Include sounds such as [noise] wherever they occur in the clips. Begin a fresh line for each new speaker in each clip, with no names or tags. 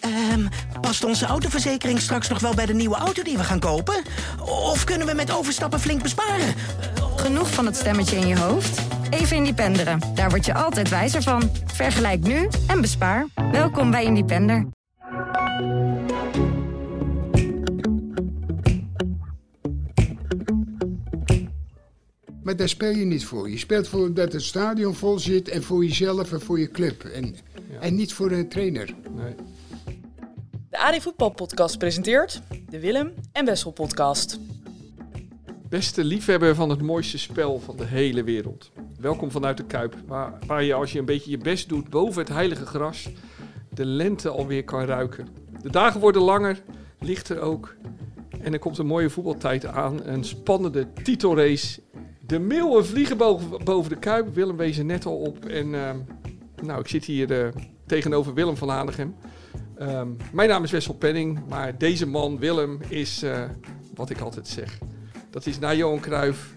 Ehm, past onze autoverzekering straks nog wel bij de nieuwe auto die we gaan kopen? Of kunnen we met overstappen flink besparen?
Genoeg van het stemmetje in je hoofd? Even independeren. Daar word je altijd wijzer van. Vergelijk nu en bespaar. Welkom bij Independer.
Maar daar speel je niet voor. Je speelt voor dat het stadion vol zit en voor jezelf en voor je club. En, en niet voor een trainer.
De AD Voetbal Podcast presenteert de Willem en Wessel Podcast.
Beste liefhebber van het mooiste spel van de hele wereld. Welkom vanuit de Kuip, waar, waar je als je een beetje je best doet boven het heilige gras, de lente alweer kan ruiken. De dagen worden langer, lichter ook. En er komt een mooie voetbaltijd aan, een spannende titelrace. De meeuwen vliegen boven, boven de Kuip, Willem wees er net al op. En ehm, nou, ik zit hier eh, tegenover Willem van Hanegem. Ehm, mijn naam is Wessel Penning, maar deze man, Willem, is eh, wat ik altijd zeg. Dat is na Johan Cruijff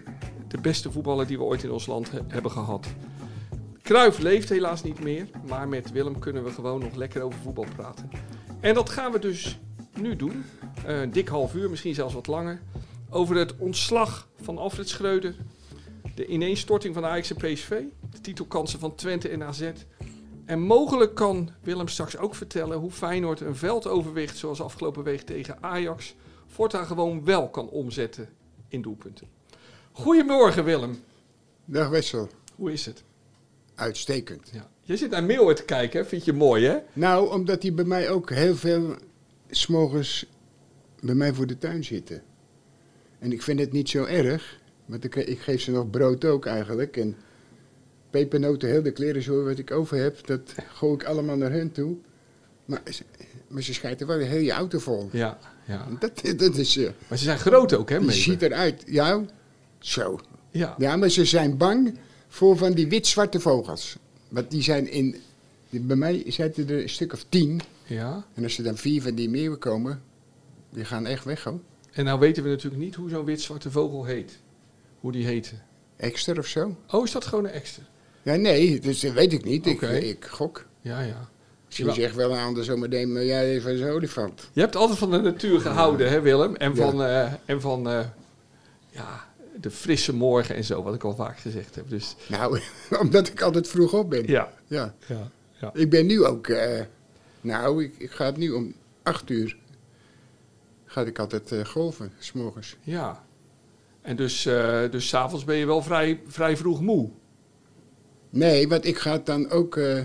de beste voetballer die we ooit in ons land he- hebben gehad. Cruijff leeft helaas niet meer, maar met Willem kunnen we gewoon nog lekker over voetbal praten. En dat gaan we dus nu doen. Eh, Een dik half uur, misschien zelfs wat langer. Over het ontslag van Alfred Schreuder. De ineenstorting van Ajax en PSV. De titelkansen van Twente en AZ. En mogelijk kan Willem straks ook vertellen hoe Feyenoord een veldoverwicht zoals afgelopen week tegen Ajax voortaan gewoon wel kan omzetten in doelpunten. Goedemorgen Willem,
Dag Wessel,
hoe is het?
uitstekend.
Ja. Je zit naar Meeuwen te kijken, hè? vind je mooi hè?
Nou, omdat die bij mij ook heel veel s'morgens bij mij voor de tuin zitten. En ik vind het niet zo erg, want ik, ik geef ze nog brood ook eigenlijk. En pepernoten, heel de klerenzooi wat ik over heb, dat gooi ik allemaal naar hen toe. Maar, ze- maar ze schijten wel heel je auto vol.
Ja, ja.
Dat, dat is... eh,
Maar ze zijn groot ook hè,
Die
Meeuwen?
ziet eruit. Ja, zo.
Ja.
Ja, maar ze zijn bang voor van die wit-zwarte vogels. Want die zijn in... die- Bij mij zitten er een stuk of tien.
ja.
En als er dan vier van die meeuwen komen, die gaan echt weg hoor.
En nou weten we natuurlijk niet hoe zo'n wit-zwarte vogel heet. Hoe die heette.
Ekster of zo?
Oh, is dat gewoon een ekster?
Ja, nee, dus dat weet ik niet.
Oké.
Ik, ik gok.
Ja, ja.
Misschien
Ja.
zegt wel een ander zometeen, maar jij is van zo'n olifant.
Je hebt altijd van de natuur gehouden hè Willem? En
Ja.
van, eh, en van eh, ja, de frisse morgen en zo, wat ik al vaak gezegd heb. Dus
Nou, [laughs] omdat ik altijd vroeg op ben.
ja.
Ja.
ja. ja.
Ik ben nu ook. eh, nou, ik, ik ga het nu om acht uur. Ga ik altijd eh, golven, s'morgens.
Ja. En dus, eh dus s'avonds ben je wel vrij, vrij vroeg moe.
Nee, want ik ga dan ook. eh,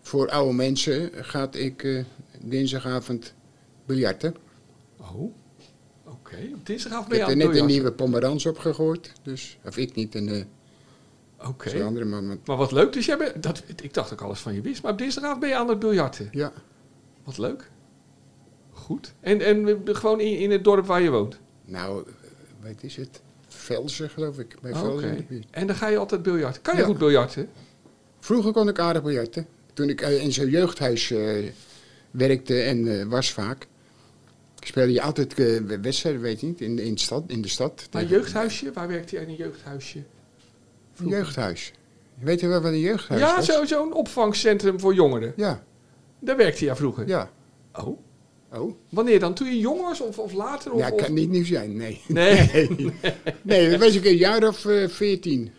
voor oude mensen gaat ik eh, dinsdagavond biljarten.
Oh. Oké. Op dinsdagavond
Ik
ben je
heb
aan
er
het
net een
biljarten.
nieuwe pomerans opgegooid. Dus, of ik niet, een eh,
Oké.
zo'n andere man. maar-
Maar wat leuk. Dus jij bent, dat, ik dacht ook alles van je wist. Maar op dinsdagavond ben je aan het biljarten.
Ja,
Wat leuk. Goed. En, en gewoon in, in het dorp waar je woont.
nou, eh, wat is het? Velsen, geloof ik. Bij
Oh, Oké.
Velsen in de buurt.
En dan ga je altijd biljarten. Kan je
Ja.
goed biljarten?
Vroeger kon ik aardig biljarten. Toen ik eh, in zo'n jeugdhuis eh, werkte en eh, was vaak, speelde je altijd eh, wedstrijden, weet je niet, in, in, de stad, in de stad.
Maar
Tegen-
een jeugdhuisje? Waar werkte jij in een jeugdhuisje?
Een
vroeger?
jeugdhuis. Weet je wel wat een jeugdhuis
ja,
was?
zo- zo'n opvangcentrum voor jongeren.
Ja,
Daar werkte jij vroeger?
ja.
Oh.
Oh,
Wanneer dan? Toen je jong was of, of later? Of,
ja,
of-
kan niet nieuw zijn, nee. [laughs]
Nee.
Nee, dat was ik een jaar of eh, veertien.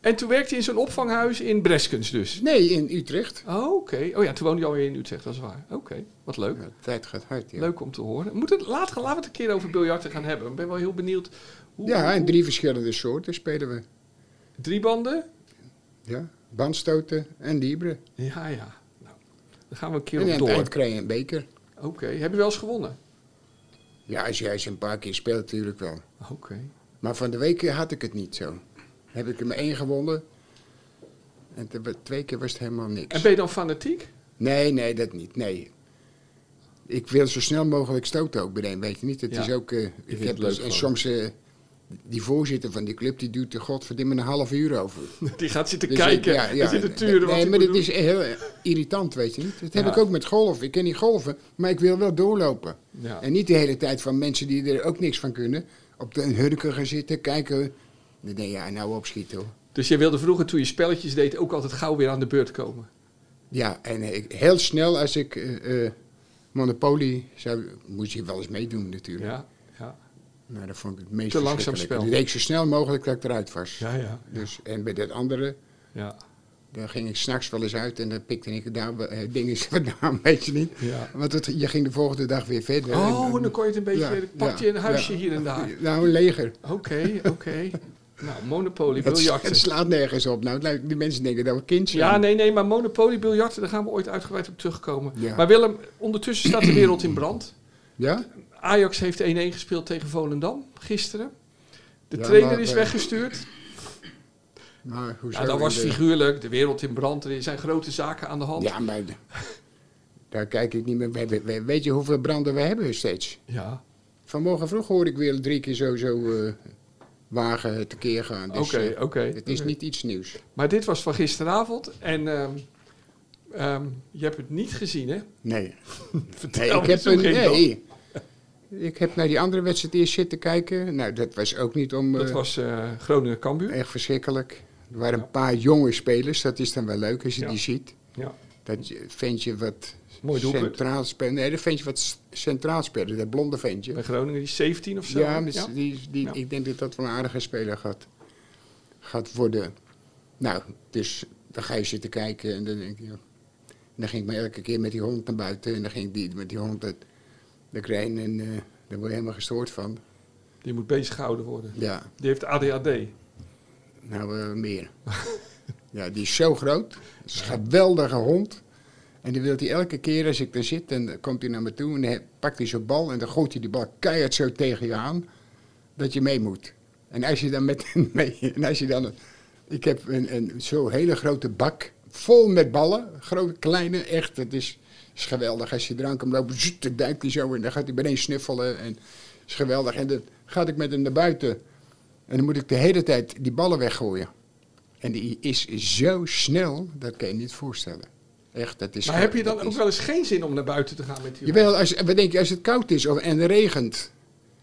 En toen werkte je in zo'n opvanghuis in Breskens dus?
nee, in Utrecht.
Oh, oké. Oh ja, toen woonde je alweer in Utrecht, dat is waar. Oké, wat leuk.
Ja, de tijd gaat hard, ja.
Leuk om te horen. Moet het, later, laten we het een keer over biljarten gaan hebben. Ik ben wel heel benieuwd. Hoe,
Ja, en
hoe-
drie verschillende soorten spelen we.
drie banden?
Ja, bandstoten en libre.
Ja, ja. Nou, dan gaan we een keer
En aan
op
het
door.
eind
Oké,
krijg je een beker.
heb je wel eens gewonnen?
Ja, als jij ze een paar keer speelt, natuurlijk wel.
Oké.
Maar van de week had ik het niet zo. Heb ik er maar één gewonnen. En te- twee keer was het helemaal niks.
En ben je dan fanatiek?
Nee, nee, dat niet. Nee. Ik wil zo snel mogelijk stoten ook bij een, weet je niet? Het
Ja.
is ook... eh, ik
vindt
heb
het leuk
dus- en
gewoon.
soms... eh, die voorzitter van die club, die duwt er godverdomme een half uur over.
[laughs] Die gaat zitten
Dus ik-
kijken ja, en zitten turen wat
Nee,
hij
maar
moet
dat is heel eh, irritant, weet je niet? Dat heb
Ja.
ik ook met golven. Ik ken niet golven, maar ik wil wel doorlopen.
doen. Ja.
En niet de hele tijd van mensen die er ook niks van kunnen. Op de een hurken gaan zitten, kijken. Dan denk je, ja, nou opschieten hoor.
Dus jij wilde vroeger, toen je spelletjes deed, ook altijd gauw weer aan de beurt komen?
Ja, en eh, ik, heel snel als ik eh, eh, Monopoly zou... Moest je wel eens meedoen natuurlijk.
Ja, ja,
Maar dat vond ik het meest
Te langzaam
verschrikkelijke. Dat
spel.
deed ik zo snel mogelijk dat ik eruit was.
ja, ja.
Dus, en bij dat andere,
ja,
daar ging ik s'nachts wel eens uit en dan pikte ik daar wel- eh, dingen [laughs] vandaan, weet je niet.
ja.
Want het, je ging de volgende dag weer verder.
Oh, en dan kon je het een beetje,
Ja,
pak je
ja,
een huisje
ja.
hier en daar.
[laughs] Nou, een leger.
Oké, oké. Nou, [laughs] Monopoly,
Het,
biljarten.
het slaat nergens op. Nou, het lijkt- die mensen denken dat we kind zijn.
Ja, nee, nee, maar Monopoly, biljarten, daar gaan we ooit uitgebreid op terugkomen.
Ja.
Maar Willem, ondertussen staat de wereld in brand.
Ja?
Ajax heeft 1-1 gespeeld tegen Volendam gisteren. De
Ja,
trainer
maar,
is
eh,
weggestuurd.
Maar hoezo?
Ja, dat was
De-
figuurlijk. De wereld in brand. Er zijn grote zaken aan de hand.
Ja, maar d- daar kijk ik niet meer. We hebben- we- weet je hoeveel branden we hebben steeds?
Ja.
Vanmorgen vroeg hoor ik weer drie keer zo, zo eh, wagen tekeer gaan. Dus,
Oké,
eh,
oké,
Het is
oké.
niet iets nieuws.
Maar dit was van gisteravond. En ehm, ehm, je hebt het niet gezien, hè? [laughs]
Nee.
Vertel
ik
eens,
heb
hoe
een,
ging
nee. Ik heb naar die andere wedstrijd eerst zitten kijken. Nou, dat was ook niet om...
Dat
eh,
was eh Groningen-Kambuur.
Echt verschrikkelijk. Er waren een paar jonge spelers. Dat is dan wel leuk als je
Ja.
die ziet.
Ja.
Dat je- ventje wat
Mooi doelpunt.
centraal speelt. Nee, dat ventje wat s- centraal speelde. Dat blonde ventje.
Bij Groningen, die 17 of zo.
Ja, dus Die, die,
Ja.
ik denk dat dat wel een aardige speler gaat, gaat worden. Nou, dus dan ga je zitten kijken en dan denk je... joh. En dan ging ik maar elke keer met die hond naar buiten. En dan ging die met die hond dat, de krein. En eh, daar word je helemaal gestoord van.
Die moet bezig gehouden worden.
Ja,
Die heeft ADHD.
nou eh,
[laughs]
meer. ja, die is zo groot. Het is een geweldige hond. En die wil hij elke keer als ik daar zit, dan eh, komt hij naar me toe en dan he- pakt hij zo'n bal en dan gooit hij die bal keihard zo tegen je aan, dat je mee moet. En als je dan met [laughs] mee, en als je dan, een- ik heb een, een zo'n hele grote bak vol met ballen, grote, kleine, echt, het is, is geweldig. Als je drank hem loopt, zoet, dan duikt hij zo en dan gaat hij beneden snuffelen en is geweldig. En dan ga ik met hem naar buiten en dan moet ik de hele tijd die ballen weggooien. En die is zo snel, dat kan je niet voorstellen. Echt, dat is
Maar
ge-
heb je dan
dat
ook
is-
wel eens geen zin om naar buiten te gaan met die
Jawel, als, wat denk je, als het koud is of, en regent,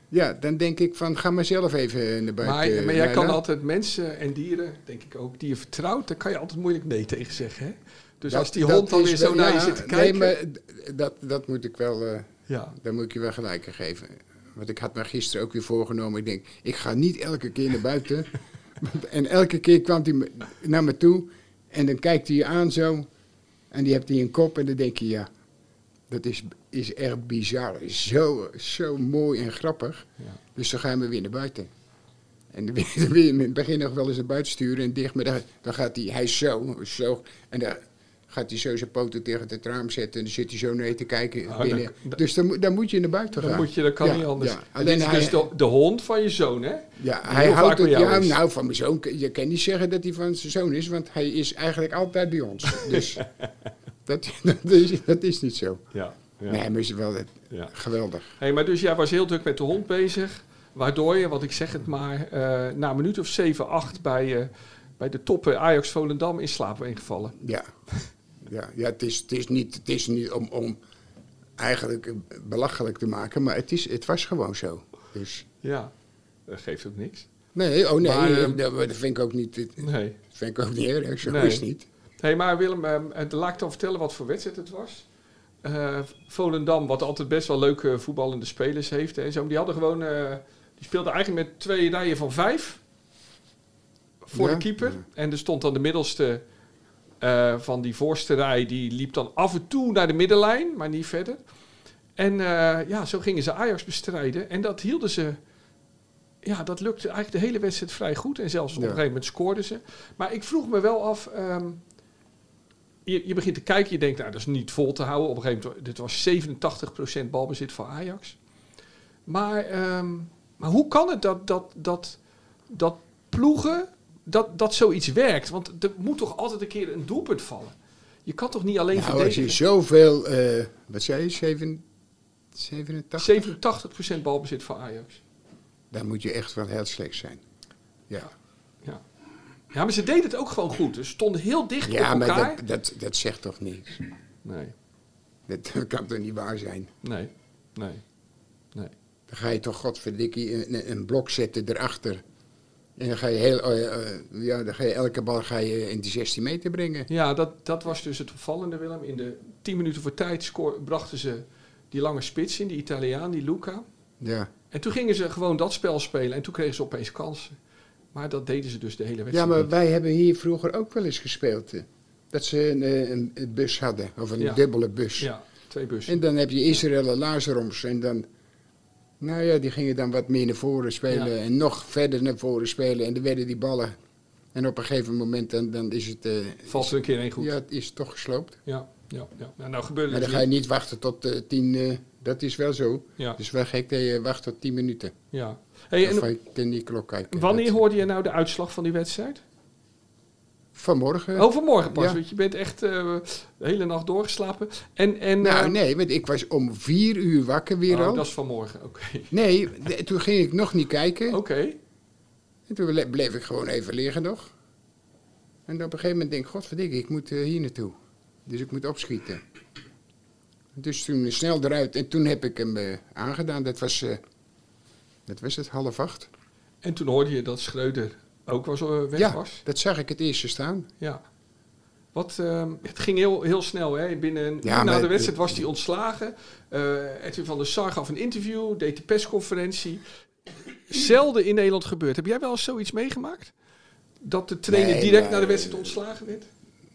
ja, dan denk ik van ga maar zelf even naar buiten.
Maar, maar
eh,
jij
Leila.
kan altijd mensen en dieren, denk ik ook, die je vertrouwt, daar kan je altijd moeilijk nee tegen zeggen. Hè? Dus
Dat-
als die
dat
hond dan
is
weer zo
wel-
naar je
ja,
zit te
Nee,
kijken.
maar d- dat, dat moet ik wel, eh,
ja.
daar moet ik je wel gelijk aan geven. Want ik had me gisteren ook weer voorgenomen. Ik denk, ik ga niet elke keer naar
[laughs]
buiten. en elke keer kwam hij me- naar me toe en dan kijkt hij je aan zo. En die hebt hij een kop en dan denk je, ja, dat is, is echt bizar. Zo, zo mooi en grappig.
Ja.
Dus dan gaan we weer naar buiten. En dan wil [laughs] je- dan wil je hem in het begin nog wel eens naar buiten sturen en dicht. Maar dan, dan gaat hij, hij is zo, zo. En dan gaat hij zo zijn poten tegen het raam zetten. En dan zit hij zo naar je te kijken
Ah,
binnen.
dan- dan-
dus dan, moet- dan moet je naar buiten gaan.
Dan moet je, dat kan
Ja,
niet anders.
ja.
En
Alleen
dit is
hij,
dus de, de hond van je zoon, hè?
ja,
die
hij
heel vaak
houdt
bij
het,
jou
ja,
is.
nou van mijn zoon, je kan niet zeggen dat hij van zijn zoon is. Want hij is eigenlijk altijd bij
[laughs]
ons. Dus dat, [laughs] dat, is, dat is niet zo.
Ja. ja,
Nee, maar is wel eh,
ja.
geweldig.
Hey, maar dus jij was heel druk met de hond bezig. Waardoor je, want ik zeg het maar, eh, na een minuut of 7, 8 bij, eh, bij de toppen Ajax Volendam in slaap bent gevallen.
Ja, ja, ja het, is, het is niet, het is niet om, om eigenlijk eh, belachelijk te maken, maar het, is, het was gewoon zo. Dus,
Ja, dat geeft ook niks.
nee, oh nee,
Maar,
eh,
ehm,
dat dat vind ik ook niet, dat
Nee.
vind ik ook niet erg, zo
Nee.
is het niet.
Hé, maar Willem, ehm, eh, laat ik dan vertellen wat voor wedstrijd het was. Eh, Volendam, wat altijd best wel leuke voetballende spelers heeft en zo. maar Die hadden gewoon. eh, die speelden eigenlijk met twee rijen van vijf. Voor
Ja.
de keeper.
Ja.
En er stond dan de middelste eh, van die voorste rij. Die liep dan af en toe naar de middenlijn, maar niet verder. En eh, ja, zo gingen ze Ajax bestrijden. En dat hielden ze. Ja, dat lukte eigenlijk de hele wedstrijd vrij goed. En zelfs op een
Ja.
gegeven moment scoorden ze. Maar ik vroeg me wel af. ehm, je, je begint te kijken, je denkt, nou, dat is niet vol te houden. Op een gegeven moment, dit was 87% balbezit van Ajax. Maar, ehm, maar hoe kan het dat, dat, dat, dat ploegen, dat, dat zoiets werkt? Want er moet toch altijd een keer een doelpunt vallen? Je kan toch niet alleen
Nou, als je
verdedigen?
zoveel, eh, wat zei je, zeven- 87?
87% balbezit van Ajax.
Dan moet je echt wel heel slecht zijn. Ja,
Ja. ja, maar ze deden het ook gewoon goed. Ze stonden heel dicht
ja
op
maar
elkaar.
dat, dat, dat zegt toch niks?
Nee,
Dat [laughs] kan toch niet waar zijn?
nee, nee, nee.
Dan ga je toch godverdikkie een, een- een blok zetten erachter. En dan ga je, heel, eh, eh, ja, dan ga je elke bal ga je in die 16 meter brengen.
Ja, dat, dat was dus het opvallende, Willem. In de 10 minuten voor tijd scoor- brachten ze die lange spits in, die Italiaan, die Luca.
Ja,
En toen gingen ze gewoon dat spel spelen en toen kregen ze opeens kansen. Maar dat deden ze dus de hele
ja
wedstrijd.
maar
niet.
wij hebben hier vroeger ook wel eens gespeeld. eh, Dat ze een, eh, een, een bus hadden, of een
Ja.
dubbele bus.
Ja, twee bussen.
En dan heb je Israël en Lazaroms. En dan, nou ja, die gingen dan wat meer naar voren spelen.
Ja.
En nog verder naar voren spelen. En dan werden die ballen. En op een gegeven moment dan, dan is het... eh,
Valt er een keer één goed.
Ja,
Ja,
het is toch gesloopt.
ja, ja. Nou, nou gebeurde
Maar
het
dan ga je
niet.
niet wachten tot eh, tien... eh, dat is wel zo.
Ja,
Het is wel gek dat je wacht tot tien minuten.
ja. Hey,
of
en
je kan die klok kijken.
wanneer
Dat-
hoorde je nou de uitslag van die wedstrijd?
Vanmorgen.
Overmorgen pas,
ja.
want je bent echt eh, de hele nacht doorgeslapen. En, en,
nou,
eh,
nee, want ik was om vier uur wakker weer
oh,
al.
dat is vanmorgen, oké.
Nee, de- toen ging ik nog niet kijken.
Oké,
En toen le- bleef ik gewoon even liggen nog. En op een gegeven moment denk ik, godverdikke, ik moet eh, hier naartoe. Dus ik moet opschieten. Dus toen snel eruit en toen heb ik hem eh, aangedaan. Dat was, eh, dat was het, half acht.
en toen hoorde je dat Schreuder ook was, eh, weg
ja,
was.
dat zag ik het eerste staan.
Ja. Wat, ehm, het ging heel, heel snel. Hè? Binnen een
Ja,
uur na
maar-
de wedstrijd was hij ontslagen. Eh Edwin van der Sar gaf een interview, deed de persconferentie. Zelden in Nederland gebeurd. Heb jij wel eens zoiets meegemaakt? Dat de trainer
Nee,
direct
maar-
na de wedstrijd ontslagen werd?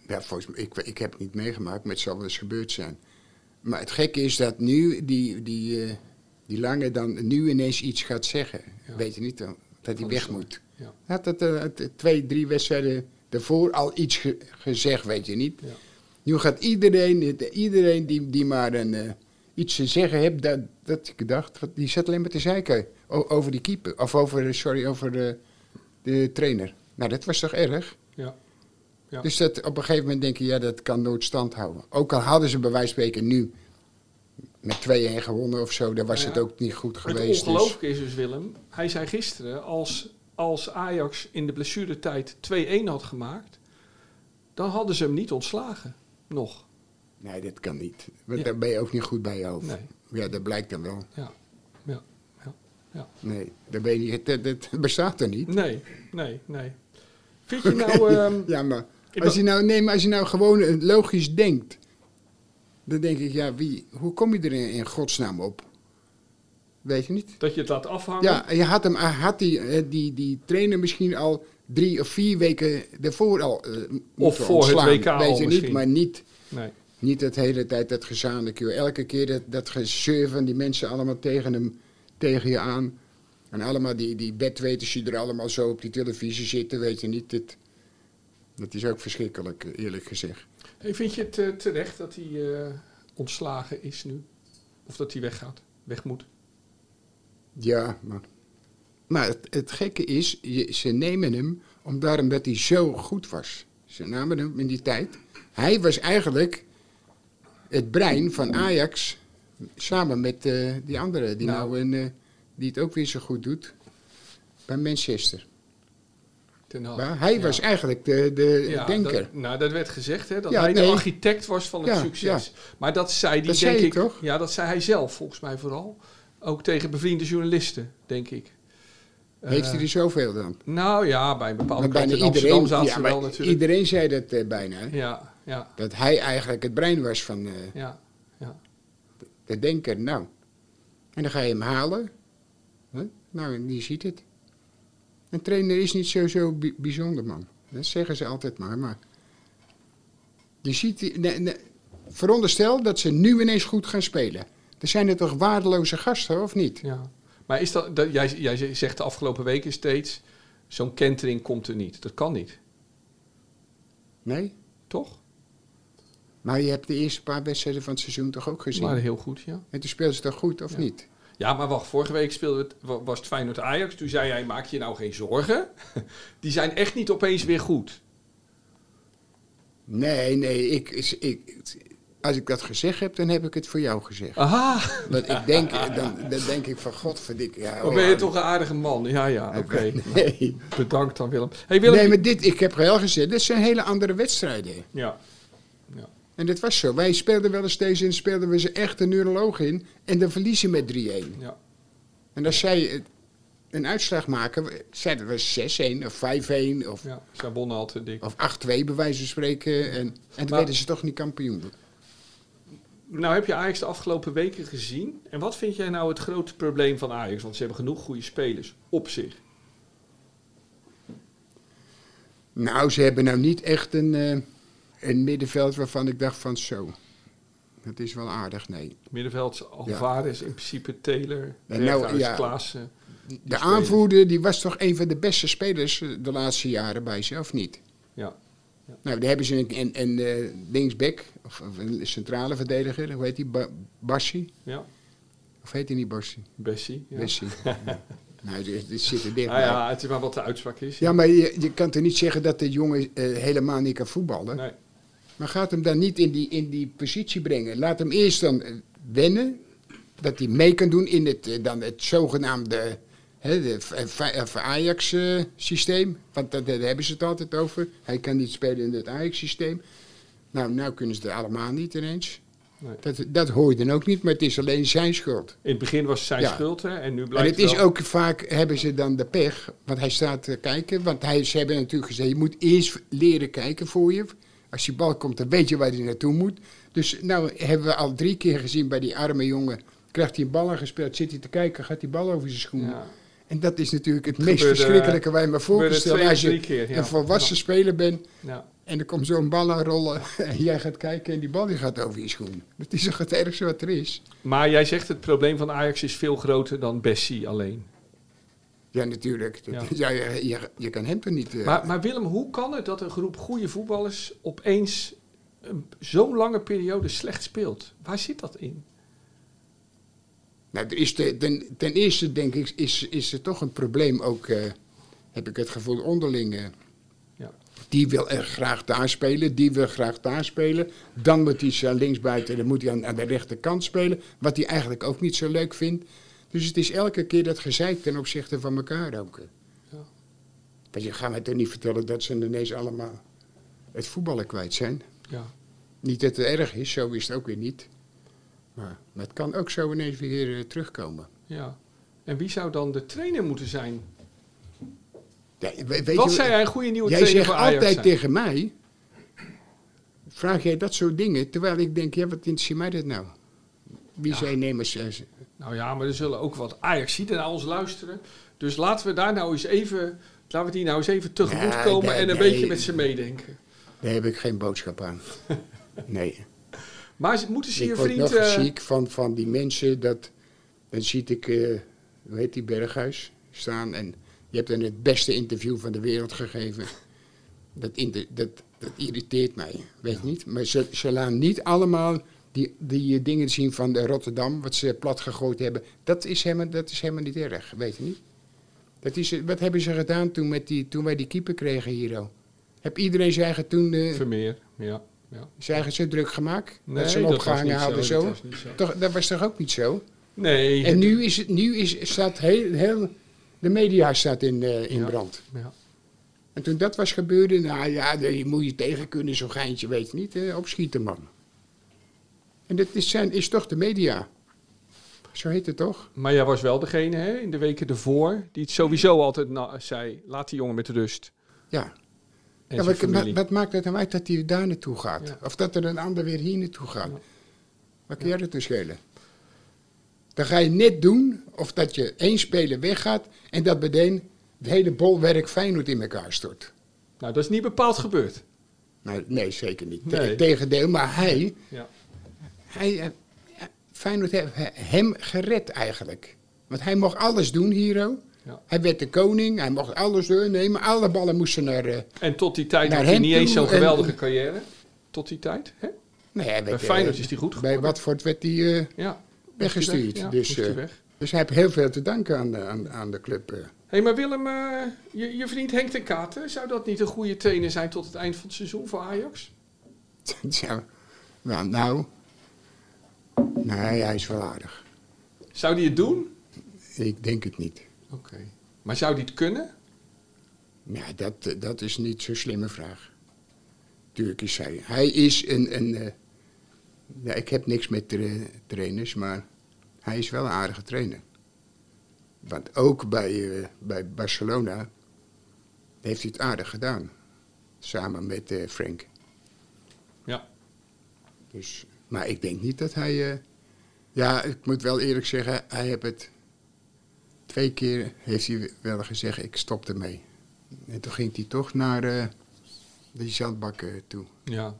Ja, volgens mij, ik, ik heb het niet meegemaakt, maar het zal wel eens gebeurd zijn. Maar het gekke is dat nu die, die, eh, die lange dan nu ineens iets gaat zeggen.
Ja.
Weet je niet, eh, dat hij
Oh,
weg
sorry.
moet.
Ja.
Hij had het, eh, het- twee, drie wedstrijden daarvoor al iets ge- gezegd, weet je niet.
Ja.
Nu gaat iedereen, het- iedereen die, die maar een, eh, iets te zeggen heeft, dat, dat ik dacht, wat, die zat alleen maar te zeiken o- over die keeper. Of over, eh, sorry, over eh, de trainer. Nou, dat was toch erg?
Ja. Ja.
Dus dat, op een gegeven moment denk je, ja, dat kan nooit stand houden. Ook al hadden ze bij wijze van spreken nu met 2-1 gewonnen of zo, dan was
Ja.
het ook niet goed
Het
geweest. Dus,
ongelooflijke is dus, Willem. Hij zei gisteren, als, als Ajax in de blessuretijd 2-1 had gemaakt... dan hadden ze hem niet ontslagen. Nog.
nee, dat kan niet. Want
Ja.
daar ben je ook niet goed bij je hoofd.
Nee.
Ja, dat blijkt dan wel.
Ja. Ja. Ja. ja.
Nee, dat, ben je, dat, dat [laughs] bestaat er niet.
Nee, nee, nee.
[laughs]
Vind je nou... ehm,
ja, maar
ik
als
wil-
je nou, nee, maar als je nou gewoon eh, logisch denkt, dan denk ik, ja, wie, hoe kom je er in, in godsnaam op? Weet je niet?
dat je het laat afhangen?
Ja, en je had, hem, had die, eh, die, die trainer misschien al drie of vier weken daarvoor al. eh, moeten
Of voor het
ontslaan.
WK al
Weet je
misschien.
niet, maar niet,
Nee.
niet dat hele tijd dat gezanik. joh. Elke keer dat, dat gezeur van die mensen allemaal tegen, hem, tegen je aan. En allemaal die, die bedweters die er allemaal zo op die televisie zitten, weet je niet. Dat, dat is ook verschrikkelijk, eh, eerlijk gezegd.
Hey, vind je het eh, terecht dat hij eh, ontslagen is nu? Of dat hij weggaat? Weg moet?
Ja, maar. Maar het, het gekke is, je- ze nemen hem om- daarom dat hij zo goed was. Ze namen hem in die tijd. Hij was eigenlijk het brein van Ajax. Samen met eh, die andere, die,
Nou.
nou. in, eh, die het ook weer zo goed dodoet. Bij Manchester.
Ten Hag.
Maar hij
Oh, Ja.
was eigenlijk de, de
Ja,
eh, denker.
Dat, nou, dat werd gezegd, hè, dat
Ja,
hij de
nee.
architect was van het
Ja,
succes. Maar dat zei die,
Dat
denk
zei hij
ik.
toch?
Ja, dat zei hij zelf, volgens mij vooral. Ook tegen bevriende journalisten, denk ik.
Heeft
Eh,
hij er zoveel dan?
Nou ja, bij een bepaalde
Maar
kant in Amsterdam zaten
ja,
ze
maar
wel natuurlijk.
iedereen zei dat eh, bijna. hè.
Ja, ja,
Dat hij eigenlijk het brein was van, eh,
ja, ja.
De denker, nou. En dan ga je hem halen. Hè? Nou, en die ziet het. Een trainer is niet sowieso bi- bijzonder, man. Dat zeggen ze altijd maar. maar je ziet, die- ne- ne- veronderstel dat ze nu ineens goed gaan spelen. Er zijn er toch waardeloze gasten, of niet?
Ja. Maar is dat, dat, jij, jij zegt de afgelopen weken steeds, zo'n kentering komt er niet. Dat kan niet,
Nee?
toch?
Maar je hebt de eerste paar wedstrijden van het seizoen toch ook gezien?
Maar heel goed, ja.
En toen speelden ze toch goed, of
Ja.
niet?
Ja, maar wacht, vorige week speelde het, wa- was het Feyenoord-Ajax. Toen zei jij, maak je nou geen zorgen. [laughs] Die zijn echt niet opeens weer goed.
Nee, nee. Ik, ik, als ik dat gezegd heb, dan heb ik het voor jou gezegd.
Aha,
Want ik denk, dan, dan denk ik van, godverdikke. Ja,
dan
oh
ben je
ja.
toch een aardige man. Ja, ja, oké.
Nee.
Bedankt dan, Willem. hey, Willem.
nee, maar dit, ik heb wel gezegd, dit zijn hele andere wedstrijden.
Ja,
En dat was zo. Wij speelden wel eens deze en speelden we ze echt een neuroloog in. En dan verliezen met 3-1.
ja,
En dan zei je, een uitslag maken. We- Zeiden we 6-1 of 5-1 of,
Ja, zij wonnen al te dik.
of 8-2 bij wijze van spreken. En, en toen
Maar-
werden ze toch niet kampioen.
Nou heb je Ajax de afgelopen weken gezien. En wat vind jij nou het grote probleem van Ajax? Want ze hebben genoeg goede spelers op zich.
Nou, ze hebben nou niet echt een, eh, een middenveld waarvan ik dacht van zo. Dat is wel aardig, nee.
Middenvelds, Alvarez, in principe Taylor,
nou,
Berghuis,
ja.
Klaassen.
De
spelen.
aanvoerder die was toch een van de beste spelers eh, de laatste jaren bij ze, of niet?
Ja.
Nou, daar hebben ze een, een, een eh, linksback, of, of een centrale verdediger, hoe heet die? Ba Bassi?
ja.
Of heet hij niet Bassi?
Bessie. Ja. [laughs]
Bessie. Ja. nou, dit, dit zit er dicht
Ah, ja, het is maar wat de uitspraak is.
Ja, maar je, je kan toch niet zeggen dat de jongen eh, helemaal niet kan voetballen?
Nee.
Maar gaat hem dan niet in die, in die positie brengen. Laat hem eerst dan eh, wennen. Dat hij mee kan doen in het, eh, dan het zogenaamde hè, de v- eh, v- eh, Ajax eh, systeem. Want dat- daar hebben ze het altijd over. Hij kan niet spelen in het Ajax systeem. Nou, nou kunnen ze er allemaal niet ineens.
Nee.
Dat, dat hoor je dan ook niet, maar het is alleen zijn schuld.
In het begin was het zijn
Ja.
schuld, hè? En nu blijkt
En het is
wel-
ook vaak, hebben ze dan de pech, want hij staat te kijken. Want hij, ze hebben natuurlijk gezegd, je moet eerst leren kijken voor je. Als die bal komt, dan weet je waar hij naartoe moet. Dus nou hebben we al drie keer gezien bij die arme jongen. Krijgt hij een bal aangespeeld, zit hij te kijken, gaat die bal over zijn schoenen.
Ja.
En dat is natuurlijk het meest
gebeurde-
verschrikkelijke waar je me voor
gebeurde
kan stellen.
twee
Als
of
je
drie keer, ja.
een volwassen speler bent
Ja.
en er komt zo'n bal aan rollen. [laughs] En jij gaat kijken en die bal die gaat over je schoen. Dat is toch het ergste wat er is?
Maar jij zegt het probleem van Ajax is veel groter dan Bessie alleen.
Ja, natuurlijk. Dat- ja. je, je, je kan hem toch niet... eh,
Maar, maar Willem, hoe kan het dat een groep goede voetballers opeens een- zo'n lange periode slecht speelt? Waar zit dat in?
Nou, er is te- ten, ten eerste denk ik, is, is er toch een probleem ook, eh, heb ik het gevoel, onderling. eh.
Ja.
die wil er graag daar spelen, die wil graag daar spelen. Dan moet hij zijn linksbuiten, dan moet hij aan, aan de rechterkant spelen. Wat hij eigenlijk ook niet zo leuk vindt. Dus het is elke keer dat gezeik ten opzichte van elkaar ook. eh.
Ja.
Want je gaat mij toch niet vertellen dat ze ineens allemaal het voetballen kwijt zijn.
Ja.
Niet dat het erg is, zo is het ook weer niet. Maar, maar het kan ook zo ineens weer eh, terugkomen.
ja. En wie zou dan de trainer moeten zijn?
Ja, we- weet
Wat
je-
zei hij een goede nieuwe
Jij
trainer
zegt
voor Ajax?
altijd
zijn?
tegen mij, vraag jij dat soort dingen, terwijl ik denk, ja, wat interesseert mij dat nou? Wie zijn nemers? eh, z-
Nou ja, maar er zullen ook wat ajax naar ons luisteren. Dus laten we daar nou eens even, laten we die nou eens even tegemoet
Nee,
komen
nee,
en een
nee.
beetje met ze meedenken.
Daar heb ik geen boodschap
[laughs]
aan. Nee.
Maar ze- moeten ze
Ik
je
word
vriend...
nog
eh,
ziek van, van die mensen, dat, dan zie ik, eh hoe heet die, Berghuis staan en je hebt dan het beste interview van de wereld gegeven. Dat, inter- dat, dat irriteert mij, weet je niet. Maar ze, ze laten niet allemaal die, die eh, dingen zien van de Rotterdam, wat ze plat gegooid hebben. Dat is helemaal, dat is helemaal niet erg, weet je niet. Dat is, eh, wat hebben ze gedaan toen, met die, toen wij die keeper kregen hier al? Heb iedereen zijn eigen toen eh,
Vermeer, ja. ja.
zijn eigen zo druk gemaakt?
Nee,
dat ze hem
dat
opgehangen
was niet
hadden
zo,
zo?
dat was niet zo.
Toch, dat was toch ook niet zo?
Nee.
En nu, is het, nu is, staat heel, heel... De media staat in, eh, in
Ja.
brand.
Ja.
En toen dat was gebeurde, nou ja, daar moet je tegen kunnen, zo'n geintje, weet je niet, hè, opschieten, man. En dat is, zijn, is toch de media? Zo heet het toch?
Maar jij was wel degene hè, in de weken ervoor die het sowieso altijd na- zei, laat die jongen met rust.
Ja.
En
ja wat,
zijn
wat,
familie.
wat maakt het nou uit dat hij daar naartoe gaat?
Ja.
Of dat er een ander weer hier naartoe gaat? Wat kun jij dat nou schelen? Dan ga je net doen of dat je één speler weggaat en dat meteen het hele bolwerk Feyenoord in elkaar stort.
Nou, dat is niet bepaald gebeurd.
Nou, nee, zeker niet. Te-
Nee.
Tegendeel, maar hij,
Ja.
hij eh, Feyenoord heeft he- hem gered eigenlijk. Want hij mocht alles doen, Hero.
Ja.
Hij werd de koning, hij mocht alles doornemen. Alle ballen moesten naar... eh,
En tot die tijd
Naar
had hij
hen
niet eens
toe
zo'n
en-
geweldige carrière. Tot die tijd, hè?
nee, hij werd,
Bij Feyenoord
eh,
is hij goed
Bij
geworden.
Watford werd hij eh,
Ja.
weggestuurd.
Ja,
dus,
moest hij
eh,
weg.
dus hij heeft heel veel te danken aan de, aan, aan de club. eh. [laughs]
Hé, hey, maar Willem, eh, je, je vriend Henk ten Katen, zou dat niet een goede trainer zijn tot het eind van het seizoen voor Ajax?
Tja, nou, nou, nee, hij is wel aardig.
Zou die het doen?
Ik denk het niet.
Oké. Maar zou die het kunnen?
Nou, dat, eh, dat is niet zo'n slimme vraag. Tuurlijk is hij. Hij is een. een eh, nou, ik heb niks met tra- trainers, maar hij is wel een aardige trainer. Want ook bij, eh, bij Barcelona heeft hij het aardig gedaan. Samen met eh, Frank.
Ja.
Dus, maar ik denk niet dat hij. eh, ja, ik moet wel eerlijk zeggen, hij heeft het. Twee keer heeft hij wel gezegd: ik stop ermee. En toen ging hij toch naar eh die zandbak eh, toe.
ja.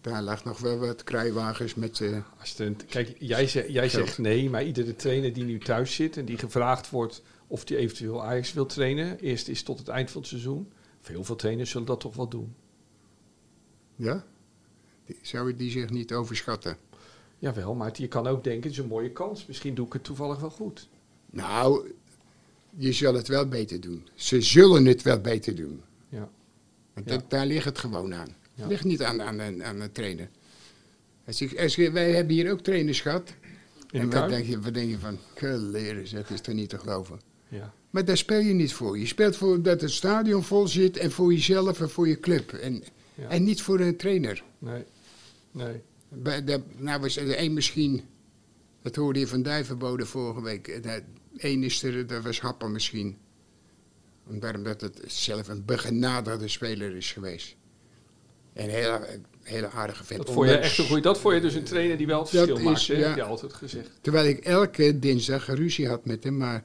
Daar lag nog wel wat kruiwagens met. eh,
Als het een- kijk, jij, zegt, jij
Geld.
zegt nee, maar iedere trainer die nu thuis zit en die gevraagd wordt of die eventueel Ajax wil trainen, eerst is tot het eind van het seizoen. Veel veel trainers zullen dat toch wel doen.
ja? Die, zou die zich niet overschatten?
Jawel, maar je kan ook denken, het is een mooie kans. Misschien doe ik het toevallig wel goed.
Nou, je zal het wel beter doen. Ze zullen het wel beter doen.
Ja.
Want
Ja.
dat- daar ligt het gewoon aan.
Ja.
Het ligt niet aan, aan, aan, aan de trainer. Als ik, als ik- wij hebben hier ook trainers gehad.
In
en
de
wat
Kuip?
denk, je, wat denk je van, leren, dat is toch niet te geloven.
Ja.
Maar daar speel je niet voor. Je speelt voor dat het stadion vol zit en voor jezelf en voor je club. En,
Ja.
en niet voor een trainer.
Nee. Nee.
Bij de, nou was er één misschien, dat hoorde je van Duivenbode vorige week. Eén is er, dat was Happer misschien. Om- Daarom dat het zelf een begenaderde speler is geweest. En hele, hele aardige vent.
Dat vond je
Ondanks-
echt een goeie. Dat vond je dus een trainer die wel het
Dat
verschil maakt.
is-
hè?
ja.
Heb je altijd gezegd.
Terwijl ik elke dinsdag ruzie had met hem, maar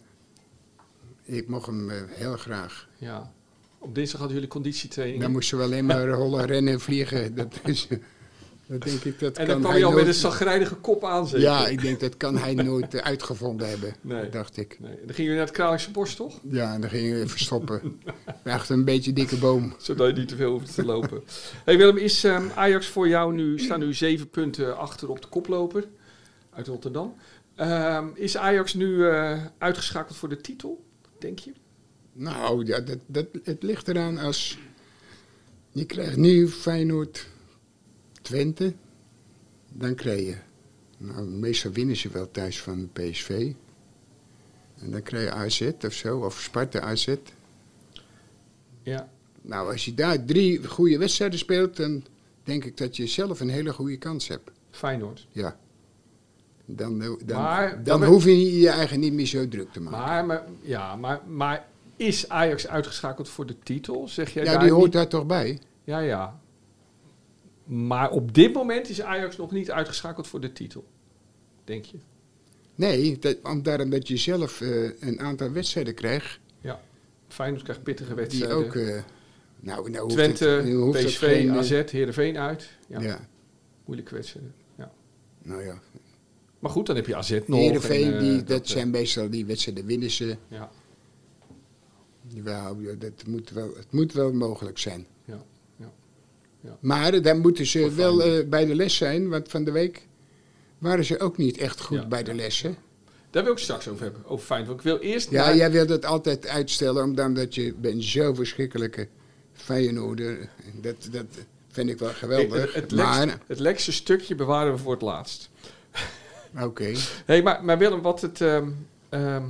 ik mocht hem eh, heel graag.
Ja. Op dinsdag hadden jullie conditietraining.
Dan moesten we alleen maar rollen, rennen en vliegen. [laughs] Dat, is, dat denk ik, dat
en
kan
dan kwam
hij
je al met een
nooit-
zagrijnige kop aan zeker?
Ja, ik denk dat kan hij nooit eh, uitgevonden hebben,
Nee.
dacht ik.
Nee. En dan gingen jullie naar het Kralingse Bos, toch?
Ja, en dan gingen we
[laughs]
verstoppen. Achter een beetje dikke boom.
Zodat je niet te veel hoeft te
[laughs]
lopen. Hey Willem, is ehm, Ajax voor jou nu, staan nu zeven punten achter op de koploper uit Rotterdam. Ehm, is Ajax nu eh, uitgeschakeld voor de titel, denk je?
Nou, ja, dat, dat, het ligt eraan als... Je krijgt nu Feyenoord Twente. Dan krijg je... Nou, meestal winnen ze wel thuis van PSV. En dan krijg je AZ of zo, of Sparta AZ.
Ja.
Nou, als je daar drie goede wedstrijden speelt... dan denk ik dat je zelf een hele goede kans hebt.
Feyenoord.
Ja. Dan, dan,
Maar-
dan
maar-
hoef je je eigen niet meer zo druk te maken.
Maar, maar, ja, maar, maar is Ajax uitgeschakeld voor de titel? Zeg jij
ja,
daar
die hoort
niet-
daar toch bij?
Ja, ja. Maar op dit moment is Ajax nog niet uitgeschakeld voor de titel, denk je?
Nee, dat, want daarom dat je zelf eh, een aantal wedstrijden krijgt.
Ja. Feyenoord krijgt pittige
Die
wedstrijden.
ook. eh, nou, nou hoeft het, nu
Twente,
hoeft het
PSV,
geen, eh,
AZ, Heerenveen uit. Ja,
Ja.
moeilijke wedstrijden. Ja.
nou ja.
Maar goed, dan heb je AZ nog.
Heerenveen,
en, eh,
die, dat,
eh,
zijn meestal die wedstrijden winnen ze.
Ja,
Jawel, ja, dat moet wel, het moet wel mogelijk zijn.
ja, ja.
Maar dan moeten ze
Voor
wel eh, bij de les zijn, want van de week waren ze ook niet echt goed
Ja,
bij de lessen.
Daar wil ik het straks over hebben, over Feyenoord. Want ik wil eerst...
Ja,
naar-
jij wilt het altijd uitstellen, omdat dat je bent zo verschrikkelijke Feyenoorder. eh, Dat, dat vind ik wel geweldig.
het, het,
maar,
lekste, het lekste stukje bewaren we voor het laatst.
oké.
Hey, maar, maar Willem, wat het... ehm ehm,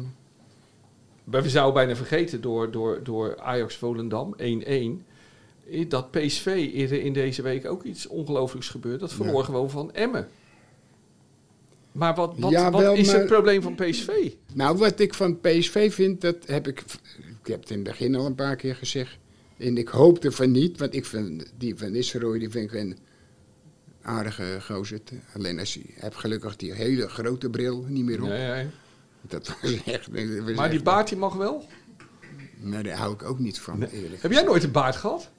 we zouden bijna vergeten door, door, door Ajax Volendam 1-1... eh, dat PSV eerder in deze week ook iets ongelooflijks gebeurde. Dat verloor
Ja.
gewoon van Emmen. Maar wat, wat,
Ja,
wat
wel,
is het
maar-
probleem van PSV?
Nou, wat ik van PSV vind, dat heb ik. Ik heb het in het begin al een paar keer gezegd. En ik hoopte van niet, want ik vind die van Nistelrooy, die vind ik een aardige gozer. Alleen als hij, hij heeft gelukkig die hele grote bril niet meer op.
Nee, nee.
Dat was echt. dat was
Maar die
echt-
baard die mag wel?
Nee, daar hou ik ook niet van, eerlijk.
Heb jij nooit een baard gehad?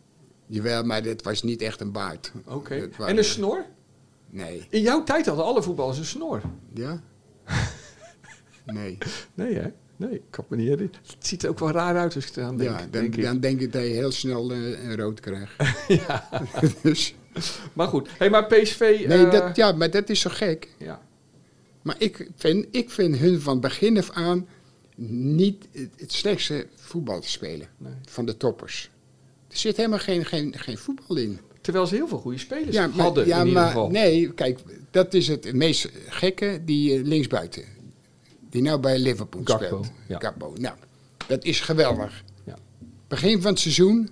Jawel, maar dat was niet echt een baard.
Oké.
Dat waren-
En een snor?
Nee.
In jouw tijd hadden alle voetballers een snor.
Ja?
[laughs]
nee.
Nee, hè? Nee, ik kan me niet herinneren. Het ziet er ook wel raar uit als ik eraan denk,
ja, dan
denk
denk,
ik. [laughs]
dan denk ik dat je heel snel eh, een rood krijgt. [laughs] dus,
Maar goed. Hé, hey, maar PSV...
nee,
eh,
dat, ja, maar dat is zo gek.
ja.
Maar ik vind, ik vind hun van begin af aan niet het- het slechtste voetbal te spelen.
Nee.
Van de toppers. Er zit helemaal geen, geen, geen voetbal in.
Terwijl ze heel veel goede spelers hadden
ja,
in ieder
maar
geval.
nee, kijk, dat is het meest gekke, die eh, linksbuiten. Die nou bij Liverpool
Gakpo,
speelt.
ja.
Gakpo, nou, dat is geweldig.
Ja.
Begin van het seizoen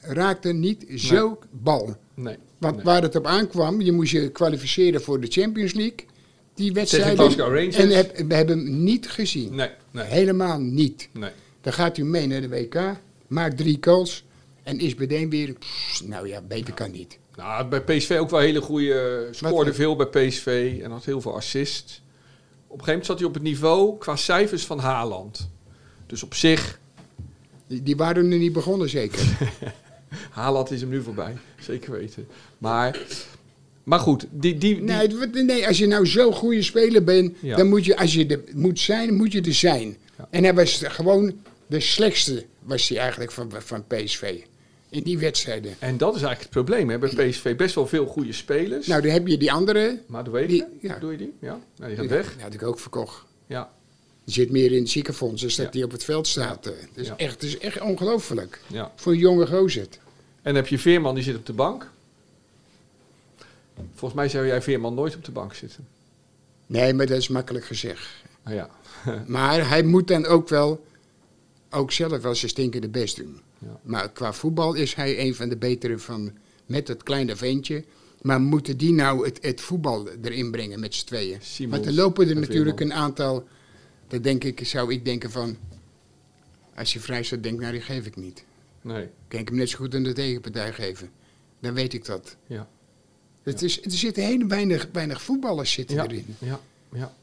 raakte niet zo bal.
Nee.
Want
nee.
waar het op aankwam, je moest je kwalificeren voor de Champions League. die
Tegen
wedstrijden.
Glasgow Rangers.
En heb, we hebben hem niet gezien.
Nee, nee,
Helemaal niet.
nee.
Dan gaat u mee naar de WK, maakt drie calls en is meteen weer. pff, nou ja, beter kan niet.
Nou, bij PSV ook wel hele goede. eh, Scoorde
Wat-
veel bij PSV en had heel veel assists. Op een gegeven moment zat hij op het niveau qua cijfers van Haaland. Dus op zich,
Die, die waren er niet begonnen, zeker.
Haaland is hem nu voorbij. [laughs] Zeker weten. Maar, maar goed, die, die, die-
nee, het wordt- nee, als je nou zo'n goede speler bent,
Ja.
dan moet je, als je er moet zijn, moet je er zijn.
Ja.
En hij was gewoon de slechtste, was hij eigenlijk van, van PSV. In die wedstrijden.
En dat is eigenlijk het probleem. Hè? Bij PSV best wel veel goede spelers.
Nou, dan heb je die andere.
maar doe, je
die-
die?
ja.
doe je die? Ja, nou, die
Die
gaat weg.
had ik ook verkocht.
Ja,
Die zit meer in het ziekenfonds dan dat
Ja.
die op het veld staat. eh. Het is,
Ja.
echt, het is echt ongelooflijk.
ja.
Voor een jonge gozer.
En dan heb je Veerman, die zit op de bank. Volgens mij zou jij Veerman nooit op de bank zitten.
Nee, maar dat is makkelijk gezegd.
Ah, ja. [laughs]
Maar hij moet dan ook wel, ook zelf wel zijn stinkende best doen.
Ja.
Maar qua voetbal is hij een van de betere van, met dat kleine ventje. Maar moeten die nou het, het voetbal erin brengen met z'n tweeën?
Simons
Want er lopen er
en
natuurlijk een
Veerman.
aantal, dat denk ik, zou ik denken van, als je vrij staat, denk nou die geef ik niet.
Nee,
Kan ik hem net zo goed aan de tegenpartij geven. Dan weet ik dat.
ja.
Het is, er zitten heel weinig, weinig voetballers zitten
Ja,
erin.
ja, ja.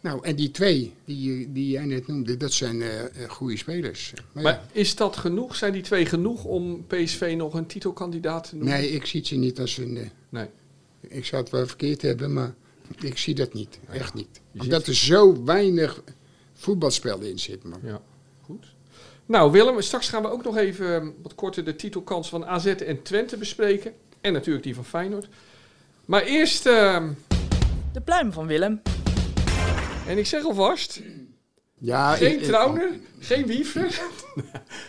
Nou, en die twee die, je- die jij net noemde, dat zijn eh, eh, goede spelers. Maar ja.
Maar is dat genoeg? Zijn die twee genoeg om PSV nog een titelkandidaat te noemen?
Nee, ik zie het ze niet als een. eh,
Nee.
ik zou het wel verkeerd hebben, maar ik zie dat niet. Echt niet.
Je
Omdat
ziet-
er zo weinig voetbalspel in zit, man.
Ja, goed. Nou Willem, straks gaan we ook nog even eh, wat korter de titelkans van AZ en Twente bespreken. En natuurlijk die van Feyenoord. Maar eerst, eh,
De pluim van Willem.
en ik zeg alvast,
Ja,
geen
ik- ik-
Trauner, geen [laughs] Wiever,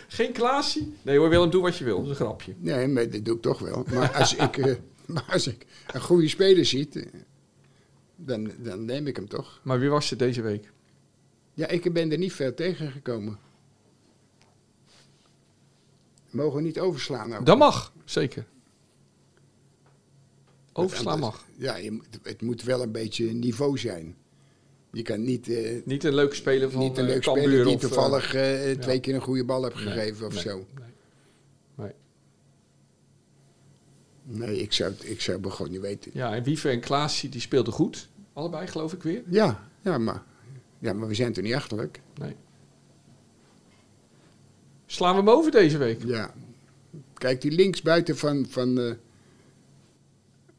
geen Klaasie. Nee hoor Willem, doe wat je wil, dat is een grapje.
Nee, maar dat doe ik toch wel. Maar als ik, eh, [laughs] maar als ik een goede speler zie, eh, dan, dan neem ik hem toch.
Maar wie was het deze week?
Ja, ik ben er niet veel tegen gekomen. Mogen we niet overslaan ook.
Dat mag, zeker. Overslaan mag.
Ja, je moet- het moet wel een beetje niveau zijn. Je kan niet, eh,
Niet een leuke speler van
niet een
eh,
leuk
Cambuur
speler die
of, eh,
toevallig eh, twee
ja.
keer een goede bal hebt
nee,
gegeven of
nee,
zo.
nee, nee.
Nee, ik zou, ik zou begon niet weten.
Ja, en Wiever en Klaasie die speelden goed. Allebei geloof ik weer.
Ja, ja, maar, ja maar we zijn er niet achterlijk.
Nee. Slaan we hem over deze week?
Ja. Kijk, die linksbuiten van, van eh,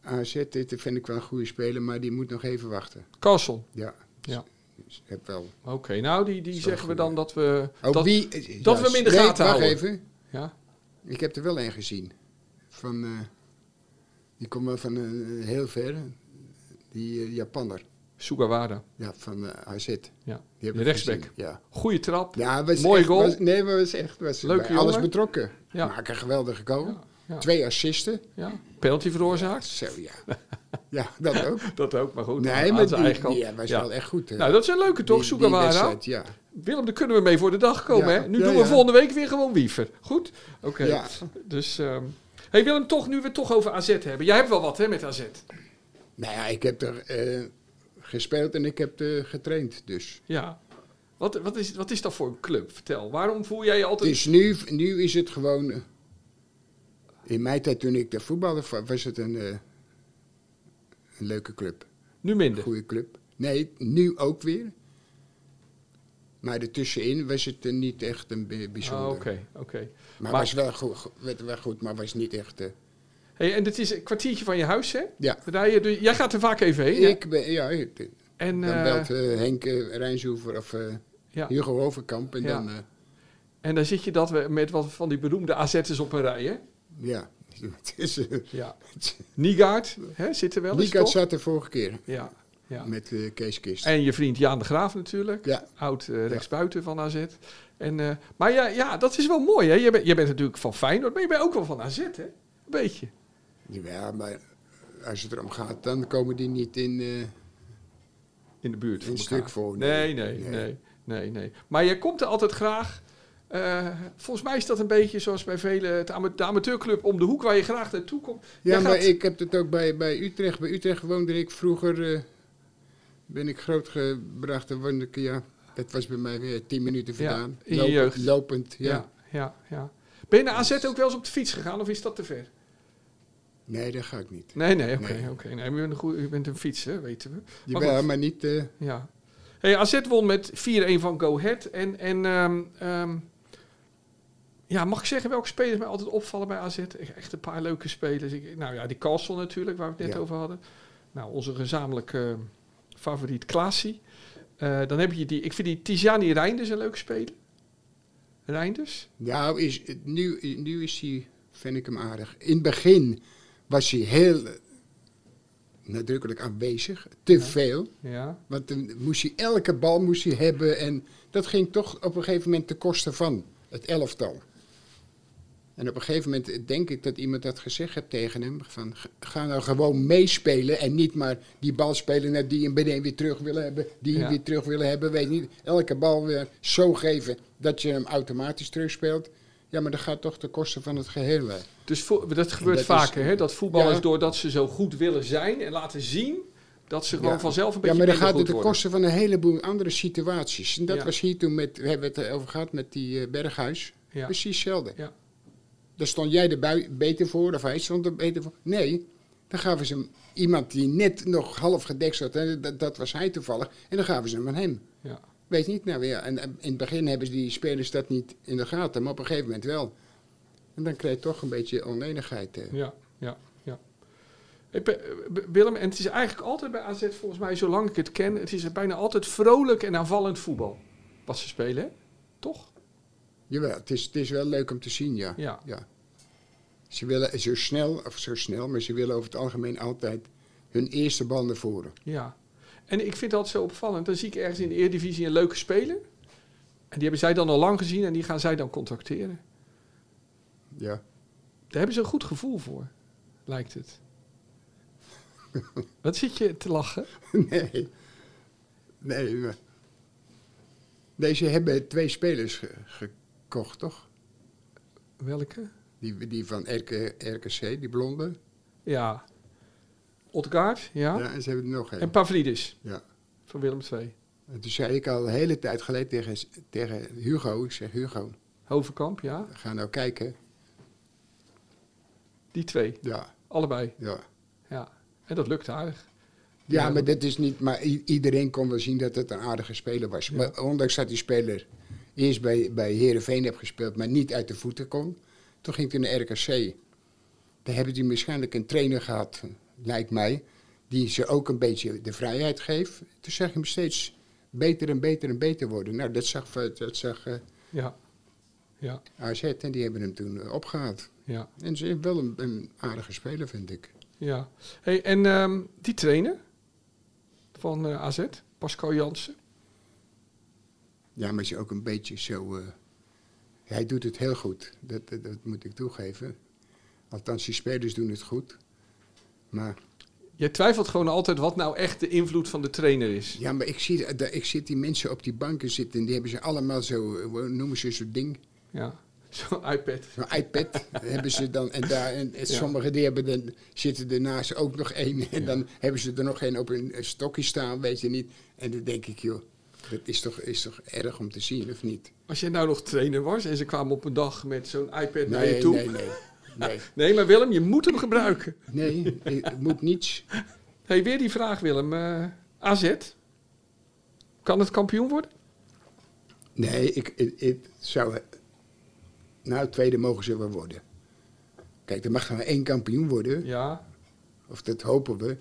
AZ, dit vind ik wel een goede speler, maar die moet nog even wachten.
Kassel.
Ja.
Ja.
Dus heb wel.
Oké, nou die, die
Zo
zeggen we
goed,
dan
ja.
dat we...
Oh,
dat,
wie,
dat we hem in de
nee,
gaten
wacht
houden.
even.
Ja,
Ik heb er wel een gezien. Van, eh, die komt wel van eh, heel ver. Die eh, Japanner.
Sugawara.
Ja, van eh, AZ. Die
Ja,
heb
de
ik
rechtsback.
gezien, Ja.
Goeie trap.
Ja, was
Mooie
echt-
goal.
was- nee, maar was echt was
Leuke
bij alles
jongen.
betrokken.
Ja.
Maak een geweldige goal.
Ja, ja.
Twee assisten.
Ja, penalty veroorzaakt.
Zo ja.
[laughs]
ja, dat ook.
Dat ook, maar goed.
Nee,
aan
maar
zijn eigen
die,
kant.
die, ja, was
Ja.
wel echt goed. hè.
Nou, dat zijn leuke toch,
Die- die
Sugawara?
wedstrijd, ja.
Willem, daar kunnen we mee voor de dag komen,
Ja.
hè? Nu
Ja,
doen we
ja.
volgende week weer gewoon wiever. Goed? Oké.
Ja.
Dus, ehm hey Willem, toch, nu we het toch over AZ hebben. Jij hebt wel wat, hè, met AZ.
Nou ja, ik heb er eh, gespeeld en ik heb er getraind dus.
Ja. Wat, wat, is, wat is dat voor een club? Vertel. Waarom voel jij je altijd...
Dus nu, nu is het gewoon. eh, In mijn tijd toen ik daar voetbalde, va- was het een, eh, een leuke club.
Nu
Een
minder.
goede club. Nee, nu ook weer. Maar ertussenin was het eh, niet echt een bi- bijzonder.
Ah, Oké, oké.
Maar,
Maar-
was wel goed, go- werd wel goed, maar was niet echt. eh,
Hey, en het is een kwartiertje van je huis, hè?
ja.
We rijden door- jij gaat er vaak even heen. hè?
Ik ben, ja, ik-
en,
dan
eh,
belt eh, Henk eh, Rijnshoever of eh,
ja.
Hugo Overkamp en
Ja.
dan. eh,
en dan zit je dat we- met wat van die beroemde AZ'ers op een rij, hè?
ja. [laughs] Het is, eh,
Ja. Niegaard, hè, zit er wel eens,
Liekert
toch?
zat er vorige keer
Ja, ja.
met eh, Kees Kist.
En je vriend Jaan de Graaf natuurlijk.
Ja.
Oud eh, rechtsbuiten van AZ. En, eh, maar ja, ja, dat is wel mooi, hè? Je bent, je bent natuurlijk van Feyenoord, maar je bent ook wel van AZ, hè? Een beetje.
Ja, maar als het erom gaat, dan komen die niet in. eh,
In de buurt van
Een
elkaar.
stuk voor, nee.
Nee, nee, nee,
Nee.
nee, nee, Maar je komt er altijd graag. eh, volgens mij is dat een beetje zoals bij velen, het ama- de amateurclub om de hoek waar je graag naartoe komt.
Ja,
Jij
maar
gaat-
ik heb het ook bij, bij Utrecht. Bij Utrecht woonde ik vroeger eh, ben ik grootgebracht en woonde ik, ja, dat was bij mij weer tien minuten
Ja,
vandaan.
in je
Lopend-
jeugd.
Lopend, ja.
ja, ja, ja. Ben je naar AZ ook wel eens op de fiets gegaan of is dat te ver?
Nee, dat ga ik niet.
Nee, nee, oké.
Nee.
oké. nee, maar je, bent een goeie- je bent een fietser, weten we.
Jawel,
goed.
maar niet... eh,
Ja. Hey, AZ won met 4-1 van Go Ahead. En, en ehm, ehm, ja, mag ik zeggen welke spelers mij altijd opvallen bij AZ? Echt een paar leuke spelers. Ik, nou ja, die Carlson natuurlijk, waar we het net
Ja.
over hadden. Nou, onze gezamenlijke ehm, favoriet Klaasie. Eh, dan heb je die, ik vind die Tijani Reinders een leuke speler. Reinders?
Nou, is, het- nu, nu is hij, vind ik hem aardig. In het begin was hij heel eh, nadrukkelijk aanwezig, te veel.
Ja,
Want dan moest hij elke bal moest hij hebben en dat ging toch op een gegeven moment ten koste van het elftal. En op een gegeven moment denk ik dat iemand dat gezegd heeft tegen hem. Van, "G- ga nou gewoon meespelen en niet maar die bal spelen naar die en beneden weer terug willen hebben. Die
Ja.
weer terug willen hebben, weet niet. Elke bal weer zo geven dat je hem automatisch terugspeelt. Ja, maar dat gaat toch ten koste van het geheel. hè.
dus vo- dat gebeurt
Dat is-
vaker, hè? Dat voetballers,
Ja.
doordat ze zo goed willen zijn en laten zien, dat ze gewoon
Ja.
vanzelf
Ja,
een beetje
maar dan
minder
gaat het
goed
ten
worden.
koste van een heleboel andere situaties. En dat
Ja.
was hier toen met, we hebben het erover gehad met die eh, Berghuis.
Ja.
Precies hetzelfde.
Ja.
Daar stond jij er bui- beter voor, of hij stond er beter voor. Nee, dan gaven ze hem iemand die net nog half gedekt zat, en dat, dat was hij toevallig, en dan gaven ze hem aan hem.
Ja.
Weet je niet, nou ja, en, en in het begin hebben ze die spelers dat niet in de gaten, maar op een gegeven moment wel. En dan krijg je toch een beetje onenigheid. eh.
Ja, ja, ja. Ik ben- eh, B- Willem, en het is eigenlijk altijd bij AZ, volgens mij, zolang ik het ken, het is bijna altijd vrolijk en aanvallend voetbal. Wat ze spelen, hè? Toch?
Jawel, het is, het is wel leuk om te zien, ja.
Ja.
Ze willen zo snel, of zo snel, maar ze willen over het algemeen altijd hun eerste bal naar voren.
Ja. En ik vind dat zo opvallend. Dan zie ik ergens in de Eredivisie een leuke speler. En die hebben zij dan al lang gezien en die gaan zij dan contacteren.
Ja. [laughs]
Daar hebben ze een goed gevoel voor, lijkt het. Wat zit je te lachen?
Nee. Nee, maar- nee, ze hebben twee spelers ge- gekocht, toch?
Welke?
Die, die van RK, RKC, die blonde.
Ja. Otgaard, ja.
Ja, en ze hebben er nog
Ah. En
één.
Pavlidis
Ja.
van Willem II.
En toen zei ik al een hele tijd geleden tegen, tegen Hugo, ik zeg Hugo,
Hovenkamp, ja.
ga nou kijken.
Die twee,
Ja,
allebei.
ja.
Ja. En dat lukt aardig.
Ja,
Ja.
maar dat is niet. Maar i- iedereen kon wel zien dat het een aardige speler was. Maar ondanks dat die speler eerst bij, bij Herenveen heeft gespeeld, maar niet uit de voeten kon. Toen ging hij naar RKC. Daar hebben die waarschijnlijk een trainer gehad, lijkt mij, die ze ook een beetje de vrijheid geeft. Toen zag je hem steeds beter en beter en beter worden. Nou, dat zag, dat zag eh,
Ja. Ja,
AZ en die hebben hem toen eh, opgehaald.
ja,
En ze is wel een, een aardige speler, vind ik.
ja. Hey, en ehm, die trainer van eh, AZ, Pascal Jansen.
Ja, maar is ook een beetje zo. eh, hij doet het heel goed. Dat, dat, dat moet ik toegeven. Althans, die spelers doen het goed. Maar,
Jij twijfelt gewoon altijd wat nou echt de invloed van de trainer is.
ja, maar ik zie, da- ik zie die mensen op die banken zitten. En die hebben ze allemaal zo. eh, hoe noemen ze zo'n ding?
Ja, [laughs] zo'n iPad.
Zo'n iPad.
[laughs]
Dat hebben ze dan. En, daar, en, en
Ja.
sommigen die hebben dan, zitten ernaast ook nog één. En dan hebben ze er nog één op een eh, stokje staan, weet je niet. En dan denk ik, joh. Dat is toch, is toch erg om te zien, of niet?
Als jij nou nog trainer was en ze kwamen op een dag met zo'n iPad naar je
nee,
toe.
nee, nee. Nee,
Nee, maar Willem, je moet hem gebruiken.
nee, het moet niets.
hey, weer die vraag Willem. Eh, AZ, kan het kampioen worden?
Nee, ik, ik, ik zou. Nou, tweede mogen ze wel worden. Kijk, er mag maar één kampioen worden.
Ja.
Of dat hopen we.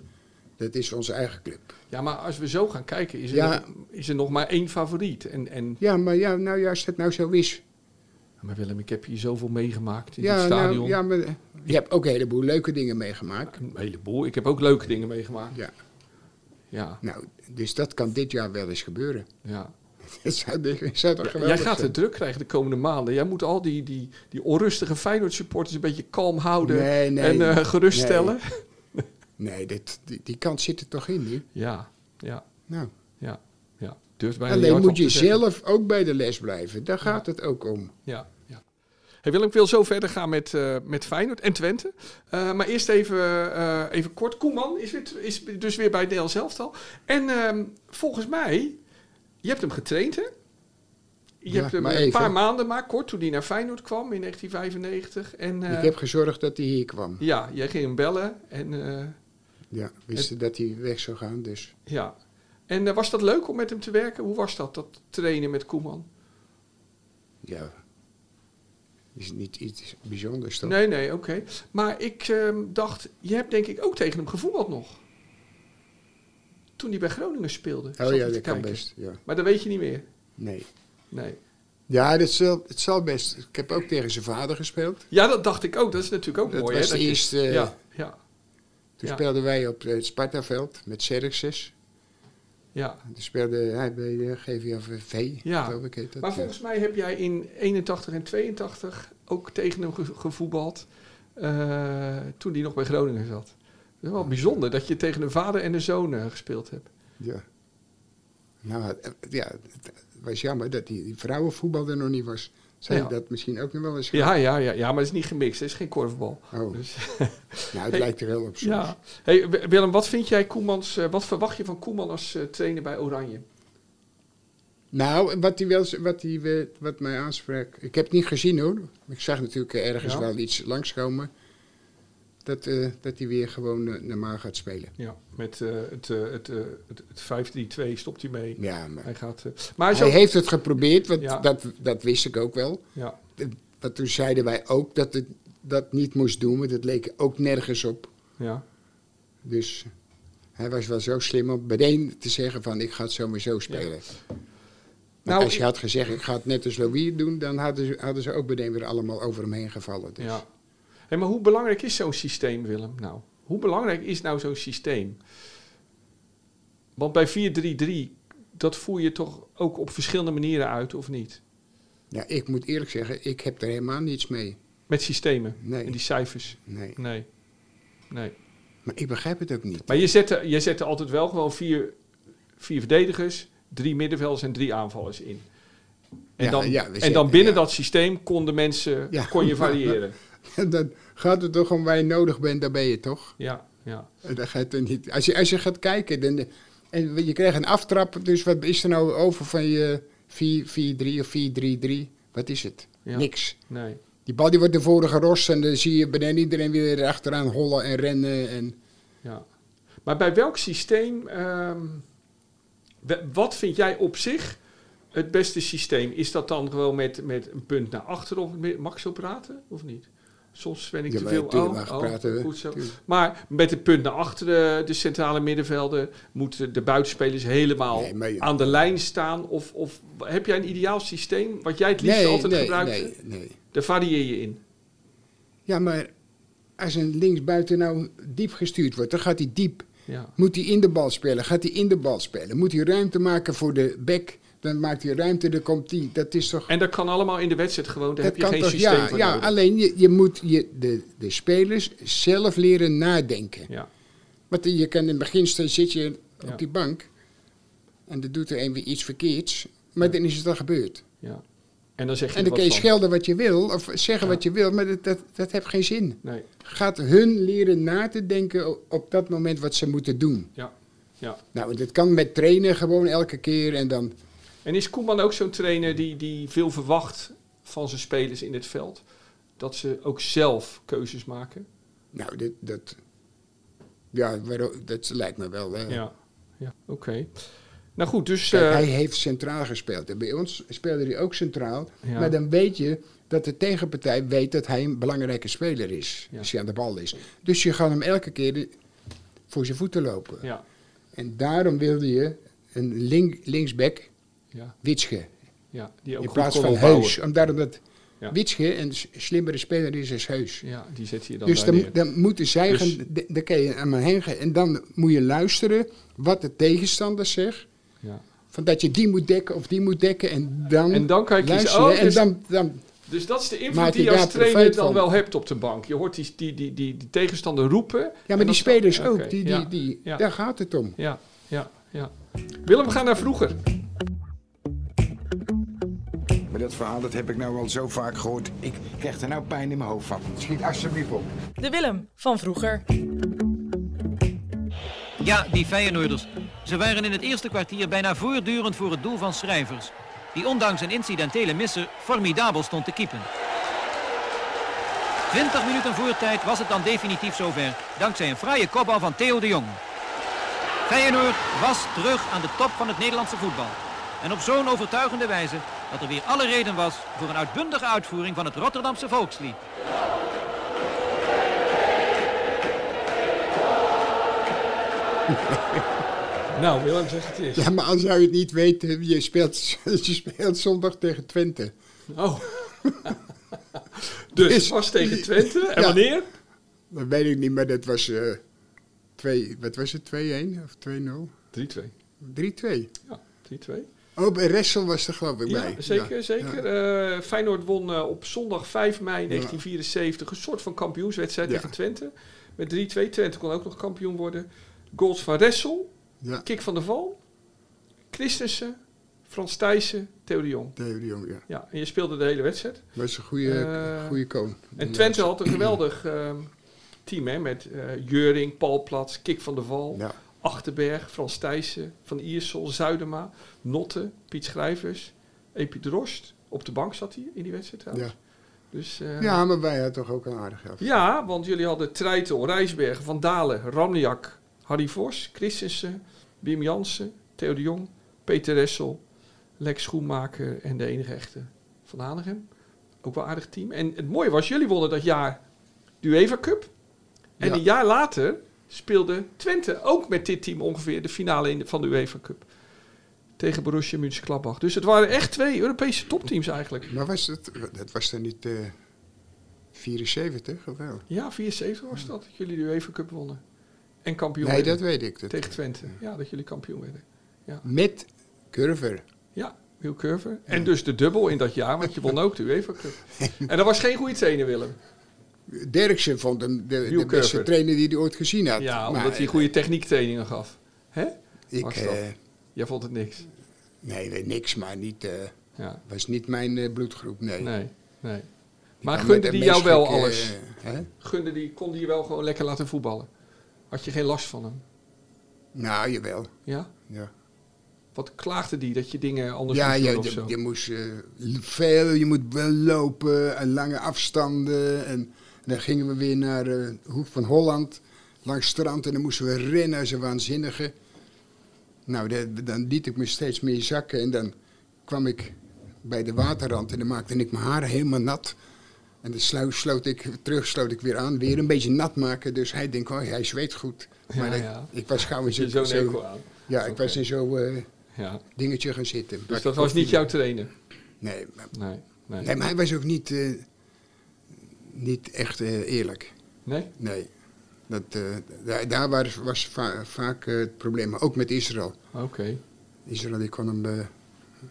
Dat is onze eigen club.
Ja, maar als we zo gaan kijken, is er,
Ja.
nog, is er nog maar één favoriet. En, en,
Ja, maar ja, nou ja, als dat nou zo is.
maar Willem, ik heb hier zoveel meegemaakt in het
ja,
stadion.
nou, ja, maar je hebt ook een heleboel leuke dingen meegemaakt.
Een heleboel. Ik heb ook leuke dingen meegemaakt.
Ja,
Ja,
nou, dus dat kan dit jaar wel eens gebeuren. [laughs]
ja.
Dat zou, dat zou toch
Jij
geweldig
gaat
zijn?
het druk krijgen de komende maanden. Jij moet al die, die, die onrustige Feyenoord supporters een beetje kalm houden
Nee, nee,
en eh, geruststellen.
Nee, dit, die, die kant zit er toch in nu?
Ja, ja,
Nou,
ja, ja. Durft bijna niet
alleen
hardop
moet je
te zeggen.
zelf ook bij de les blijven. Daar gaat het ook om.
Ja, ja. Hey Willem, ik wil zo verder gaan met, eh, met Feyenoord en Twente. Eh, maar eerst even, eh, even kort. Koeman is, weer, is dus weer bij DL Zelftal. En ehm, volgens mij, je hebt hem getraind, hè? Je
Ja,
hebt hem
maar
een paar
even.
maanden maar kort toen hij naar Feyenoord kwam in 1995. En, eh,
Ik heb gezorgd dat hij hier kwam.
Ja, jij ging hem bellen. En, eh,
Ja, wisten dat hij weg zou gaan, dus...
ja. en eh, was dat leuk om met hem te werken? Hoe was dat, dat trainen met Koeman?
Ja. Is niet iets bijzonders toch? Oh,
Nee, nee, oké. Maar ik ehm, dacht, je hebt denk ik ook tegen hem gevoetbald nog. Toen hij bij Groningen speelde. Zat
oh
hij
ja,
te
dat kan
kijken.
best. Ja.
Maar dat weet je niet meer.
Nee.
Nee.
Ja, dat zal, het zal best. Ik heb ook tegen zijn vader gespeeld.
Ja, dat dacht ik ook. Dat is natuurlijk ook
Dat
mooi.
was
hè,
de
je-
eerste, eh,
Ja, ja,
Toen
Ja.
speelden wij op eh, het Spartaveld met Xerxes.
ja.
En Toen speelde hij bij de GVV,
Ja.
geloof ik heet dat.
maar
ja.
volgens mij heb jij in 81 en 82 ook tegen hem ge- gevoetbald. eh, toen hij nog bij Groningen zat. Dat is wel bijzonder dat je tegen een vader en een zoon eh, gespeeld hebt.
Ja. Nou, eh, ja, het was jammer dat die, die vrouwenvoetbal er nog niet was. Zou je
Ja.
dat misschien ook nog wel eens
Ja, ja, ja, ja, maar het is niet gemixt. Het is geen korfbal.
gaan? Oh,
Dus, [laughs]
nou, het
Hey.
lijkt er wel op soms.
ja. Hey, Wi- Willem, wat vind jij Koemans, eh, wat verwacht je van Koeman als eh, trainer bij Oranje?
Nou, wat, die wel, wat, die, we- wat mij aansprak. Ik heb het niet gezien hoor. Ik zag natuurlijk eh, ergens
Ja.
wel iets langskomen. Dat, eh, dat hij weer gewoon eh, normaal gaat spelen.
Ja, met eh, het, het, het, 5-3-2 stopt hij mee.
Ja, maar.
Hij gaat. eh, maar
Hij heeft het geprobeerd, want
Ja.
dat, dat wist ik ook wel.
Ja,
Eh, Want toen zeiden wij ook dat het dat niet moest doen, want het leek ook nergens op.
ja,
Dus hij was wel zo slim om meteen te zeggen van ik ga het zo maar zo spelen. Maar
Nou,
als je
ik-
had gezegd ik ga het net als Louis doen, dan hadden ze, hadden ze ook meteen weer allemaal over hem heen gevallen. Dus.
ja. Hey, maar hoe belangrijk is zo'n systeem, Willem? Nou, hoe belangrijk is nou zo'n systeem? Want bij 4-3-3, dat voer je toch ook op verschillende manieren uit, of niet?
Ja, ik moet eerlijk zeggen, ik heb er helemaal niets mee.
Met systemen
Nee.
en die cijfers.
Nee.
Nee. Nee.
Maar ik begrijp het ook niet.
Hm. Maar je zette, je zette altijd wel gewoon vier, vier verdedigers, drie middenvelders en drie aanvallers in. En,
Ja,
dan,
ja, we
en
zetten-
dan binnen
ja.
dat systeem konden mensen,
Ja. [laughs]
kon je variëren.
[laughs] dan gaat het toch om waar je nodig bent, daar ben je toch?
Ja, ja.
En Dan ga je toch niet. Als je, als je gaat kijken, dan, en je krijgt een aftrap, dus wat is er nou over van je 4-4-3 of 4-3-3? Wat is het?
Ja.
Niks.
Nee.
Die bal die wordt ervoor gerost en dan zie je beneden iedereen weer achteraan hollen en rennen. En,
Ja. Maar bij welk systeem, ehm, we- wat vind jij op zich het beste systeem? Is dat dan gewoon met, met een punt naar achteren? Of met- mag ik zo praten of niet? Soms ben ik
Ja,
te
maar
veel. oh,
natuurlijk mag ik praten, hè.
goed zo.
Tuurlijk.
Maar met een punt naar achteren, de centrale middenvelden, moeten de buitenspelers helemaal
Nee, maar je-
aan de lijn staan? Of, of heb jij een ideaal systeem wat jij het liefst altijd
nee,
gebruikt?
nee, nee.
Daar varieer je in.
Ja, maar als een linksbuiten nou diep gestuurd wordt, dan gaat hij diep.
Ja,
Moet hij in de bal spelen? Gaat hij in de bal spelen? Moet hij ruimte maken voor de back? Dan maakt hij ruimte, dan komt die. Dat is toch.
en dat kan allemaal in de wedstrijd gewoon. Daar
dat
heb je geen systeem
ja,
voor
ja
nodig.
alleen je, je moet je, de, de spelers zelf leren nadenken.
Ja,
Want je kan in het begin staan, zit je op
Ja.
die bank en dan doet er een weer iets verkeerds. Maar dan is het al gebeurd.
ja. En dan zeg je
En
er
dan
wat
kun je
van.
schelden wat je wil of zeggen
Ja.
wat je wil, maar dat, dat, dat heeft geen zin.
Nee,
Gaat hun leren na te denken o- op dat moment wat ze moeten doen.
ja. ja.
Nou, dat kan met trainen gewoon elke keer en dan
En is Koeman ook zo'n trainer die, die veel verwacht van zijn spelers in het veld? Dat ze ook zelf keuzes maken?
Nou, dit, dat. Ja, waarom- dat lijkt me wel. eh.
Ja. ja. Oké. Nou goed, dus...
Kijk,
eh,
hij heeft centraal gespeeld. En bij ons speelde hij ook centraal.
Ja.
Maar dan weet je dat de tegenpartij weet dat hij een belangrijke speler is.
Ja.
Als hij aan de bal is. Dus je gaat hem elke keer voor zijn voeten lopen.
ja,
En daarom wilde je een link, linksback,
ja,
Witsche.
ja. Die ook
In
goed
plaats
kon
van
opbouwen.
Heus. Omdat dat
Ja.
Witsche een s- slimmere speler is als Heus.
Ja, die zet je dan
Dus
daar
dan,
neer.
dan moeten zij,
Dus-
gaan, d- dan kan je aan me heen gaan. En dan moet je luisteren wat de tegenstander zegt.
Ja.
Van dat je die moet dekken of die moet dekken. En dan,
En dan kijk je eens,
luister je.
oh,
en
dus-
dan, dan,
Dus dat is de invloed
Maak
die
je
je als
daar
trainer
profijt
dan
van?
wel hebt op de bank. Je hoort die, die, die, die, die tegenstander roepen.
ja,
en
maar die
dan-
spelers
Oké,
ook. Die, die,
ja,
die,
ja.
Daar gaat het om.
Ja, ja, ja. Willem, we gaan naar vroeger.
Maar dat verhaal, dat heb ik nou al zo vaak gehoord. Ik krijg er nou pijn in mijn hoofd van. Schiet alsjeblieft op.
De Willem van vroeger.
Ja, die Feyenoorders. Ze waren in het eerste kwartier bijna voortdurend voor het doel van Schrijvers. Die ondanks een incidentele misser formidabel stond te keepen. 20 minuten voor tijd was het dan definitief zover. Dankzij een fraaie kopbal van Theo de Jong. Feyenoord was terug aan de top van het Nederlandse voetbal. En op zo'n overtuigende wijze dat er weer alle reden was voor een uitbundige uitvoering van het Rotterdamse volkslied.
Nou, Willem, zeg het eens.
Ja, maar als zou je het niet weten, je speelt, [laughs] je speelt zondag tegen Twente. Nou.
Oh. [laughs] dus
Dus-
het was tegen Twente. En
Ja.
wanneer?
Dat weet ik niet, maar dat was, eh twee, wat was het, 2-1 of 2-0? 3-2.
3-2. Ja, 3-2.
Oh, bij Ressel was er geloof ik bij.
Ja, zeker,
Ja,
zeker.
ja.
Eh, Feyenoord won eh, op zondag 5 mei 1974 een soort van kampioenswedstrijd
Ja.
tegen Twente. Met 3-2. Twente kon ook nog kampioen worden. Goals van Ressel,
Ja,
Kik van der Val, Christensen, Frans Thijssen, Theo de Jong.
Theo de Jong, ja.
Ja, en je speelde de hele wedstrijd.
Was een goede,
Eh,
goede koon.
En Twente had een geweldig ehm, team, hè, met eh Juring, Paul Plats, Kik van der Val,
Ja.
Achterberg, Frans Thijssen, Van Iersel, Zuidema, Notte, Piet Schrijvers, Epi Drost. Op de bank zat hij in die wedstrijd trouwens.
Ja.
Dus, eh, ja.
ja, maar wij hadden toch ook een aardig helft.
want jullie hadden Treitel, Rijsbergen, Van Dalen, Ramniak, Harry Vos, Christensen, Wim Jansen, Theo de Jong, Peter Ressel, Lex Schoenmaker en de enige echte Van Hanegem. Ook wel een aardig team. En het mooie was, jullie wonnen dat jaar de UEFA Cup. En
Ja.
een jaar later speelde Twente ook met dit team ongeveer de finale in de- van de UEFA Cup. Tegen Borussia Mönchengladbach. Dus het waren echt twee Europese topteams eigenlijk.
Maar was dat, dat was dan niet eh 74 of wel?
Ja, 74 was dat. Dat jullie de UEFA Cup wonnen. En kampioen
Nee, dat
werden.
weet ik. Dat
Tegen Twente. Ja, dat jullie kampioen werden.
Met Curver.
Ja, Wil Curver. En dus de dubbel in dat jaar, want je won ook de UEFA Cup. En dat was geen goede trainer, Willem.
Derksen vond hem de,
Wiel
de beste
Curver.
trainer die hij ooit gezien had.
Ja,
Maar,
omdat hij goede techniektrainingen gaf. Hè?
eh, Ik,
was dat.
eh,
Jij vond het niks.
nee, nee, niks, maar niet, eh,
Ja,
was niet mijn eh, bloedgroep, nee.
nee, nee. Maar
Ja,
gunde
met een
die jou wel
menselijke,
alles?
eh, hè?
Gunde die, kon die je wel gewoon lekker laten voetballen? Had je geen last van hem?
Nou, jawel.
Ja?
Ja,
Wat klaagde die dat je dingen anders
ja,
moest
je,
doen of
je,
zo?
je moest eh, veel, je moet wel lopen en lange afstanden. En dan gingen we weer naar eh, de Hoek van Holland, langs het strand. En dan moesten we rennen als een waanzinnige. Nou, de- dan liet ik me steeds meer zakken. En dan kwam ik bij de waterrand en dan maakte ik mijn haren helemaal nat. En dan slo- sloot ik, terug sloot ik weer aan, weer een beetje nat maken. Dus hij denkt, oh, hij zweet goed.
Ja,
Maar ik-
ja.
ik was gauw in
je
zo'n...
zo'n
zo-
eco aan.
ja, ik was in zo'n eh,
Ja.
dingetje gaan zitten.
Dus dat was niet jouw trainer?
Nee, maar,
Nee. Nee?
nee, maar hij was ook niet, eh, niet echt eh, eerlijk.
Nee?
Nee. Dat, eh, daar daar was, was va- vaak eh, het probleem, maar ook met Israël.
Oké.
Israël, die kon hem... eh,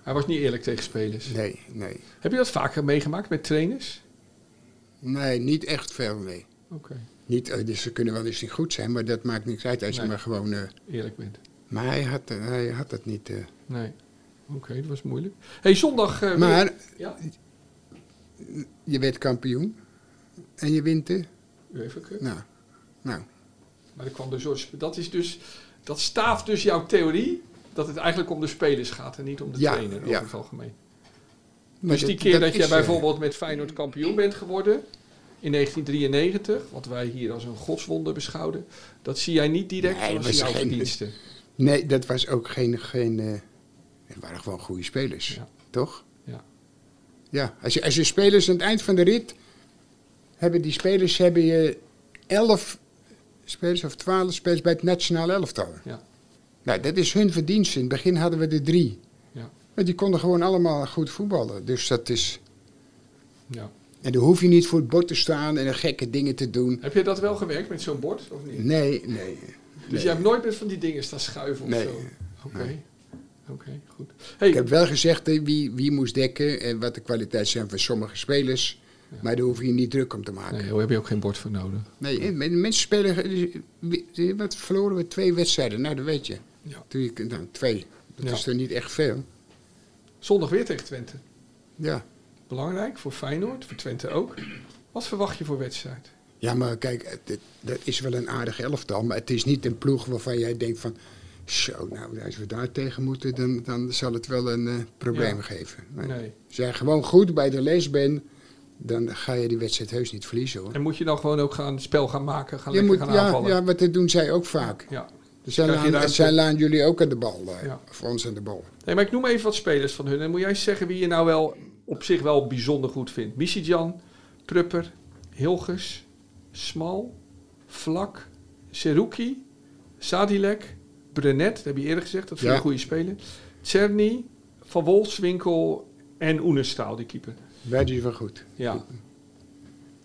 Hij was niet eerlijk tegen spelers.
nee, nee.
Heb je dat vaker meegemaakt met trainers?
Nee, niet echt veel, nee.
Oké.
Niet, eh, dus ze kunnen wel eens niet goed zijn, maar dat maakt niks uit als
Nee.
je maar gewoon... eh,
Eerlijk bent.
maar hij had, eh, hij had dat niet. eh.
Nee. Oké, dat was moeilijk. hey, zondag. eh, weer-
Maar
Ja,
je werd kampioen en je wint de...
UEFA Cup.
Nou, nou.
Maar er kwam dus, door- dat, is dus, dat staaft dus jouw theorie dat het eigenlijk om de spelers gaat en niet om de
Ja,
trainer over
ja.
het algemeen.
Maar
dus die
dat-
keer dat,
dat
jij
is, eh,
bijvoorbeeld met Feyenoord kampioen bent geworden in 1993, wat wij hier als een godswonder beschouwden, dat zie jij niet direct
Nee,
als
was
jouw
geen-
verdiensten.
Nee, dat was ook geen. geen eh, het waren gewoon goede spelers,
Ja.
toch?
Ja.
Ja, als je, als je spelers aan het eind van de rit. hebben die spelers. hebben je elf spelers of twaalf spelers bij het nationale elftal.
Ja.
Nou, dat is hun verdienste. In het begin hadden we er drie.
Ja.
Maar die konden gewoon allemaal goed voetballen. Dus dat is.
Ja.
En dan hoef je niet voor het bord te staan en gekke dingen te doen.
Heb je dat wel gewerkt met zo'n bord of niet?
Nee, nee.
Dus jij hebt nooit met van die dingen staan schuiven of
Nee.
zo? Oké. Oké, goed. Hey,
Ik heb wel gezegd hè, wie, wie moest dekken en wat de kwaliteit zijn van sommige spelers. Maar daar hoef je niet druk om te maken.
Nee, daar heb je ook geen bord voor nodig.
Nee, en men- mensen spelen. eh, ge- wie- Wat verloren we twee wedstrijden? Nou, dat weet je.
Ja.
Toen je nou, twee. Dat
Ja.
is er niet echt veel.
Zondag weer tegen Twente.
Ja.
Belangrijk voor Feyenoord, voor Twente ook. Wat verwacht je voor wedstrijd?
Ja, maar kijk, het- het- dat is wel een aardig elftal. Maar het is niet een ploeg waarvan jij denkt van... Zo, nou, als we daar tegen moeten, dan, dan zal het wel een eh, probleem
Ja.
geven.
Nee.
Als jij gewoon goed bij de les bent, dan ga je die wedstrijd heus niet verliezen, hoor.
En moet je dan gewoon ook gaan spel gaan maken, gaan
Je
lekker
moet,
gaan
ja,
aanvallen?
ja, want dat doen zij ook vaak.
ja.
Dus zij,
Krijg je
laan,
ruimte?
zij laan jullie ook aan de bal. eh,
Ja.
Of ons aan de bal.
Nee, maar ik noem even wat spelers van hun. En moet jij eens zeggen wie je nou wel op zich wel bijzonder goed vindt. Misijan, Prupper, Hilgers, Smal, Vlak, Seruki, Sadilek, Brenet, dat heb je eerder gezegd, dat vind
Ja.
ik een goede speler. Czerny, Van Wolfswinkel en Oenestaal, die keeper.
Wij doen wel goed.
Ja,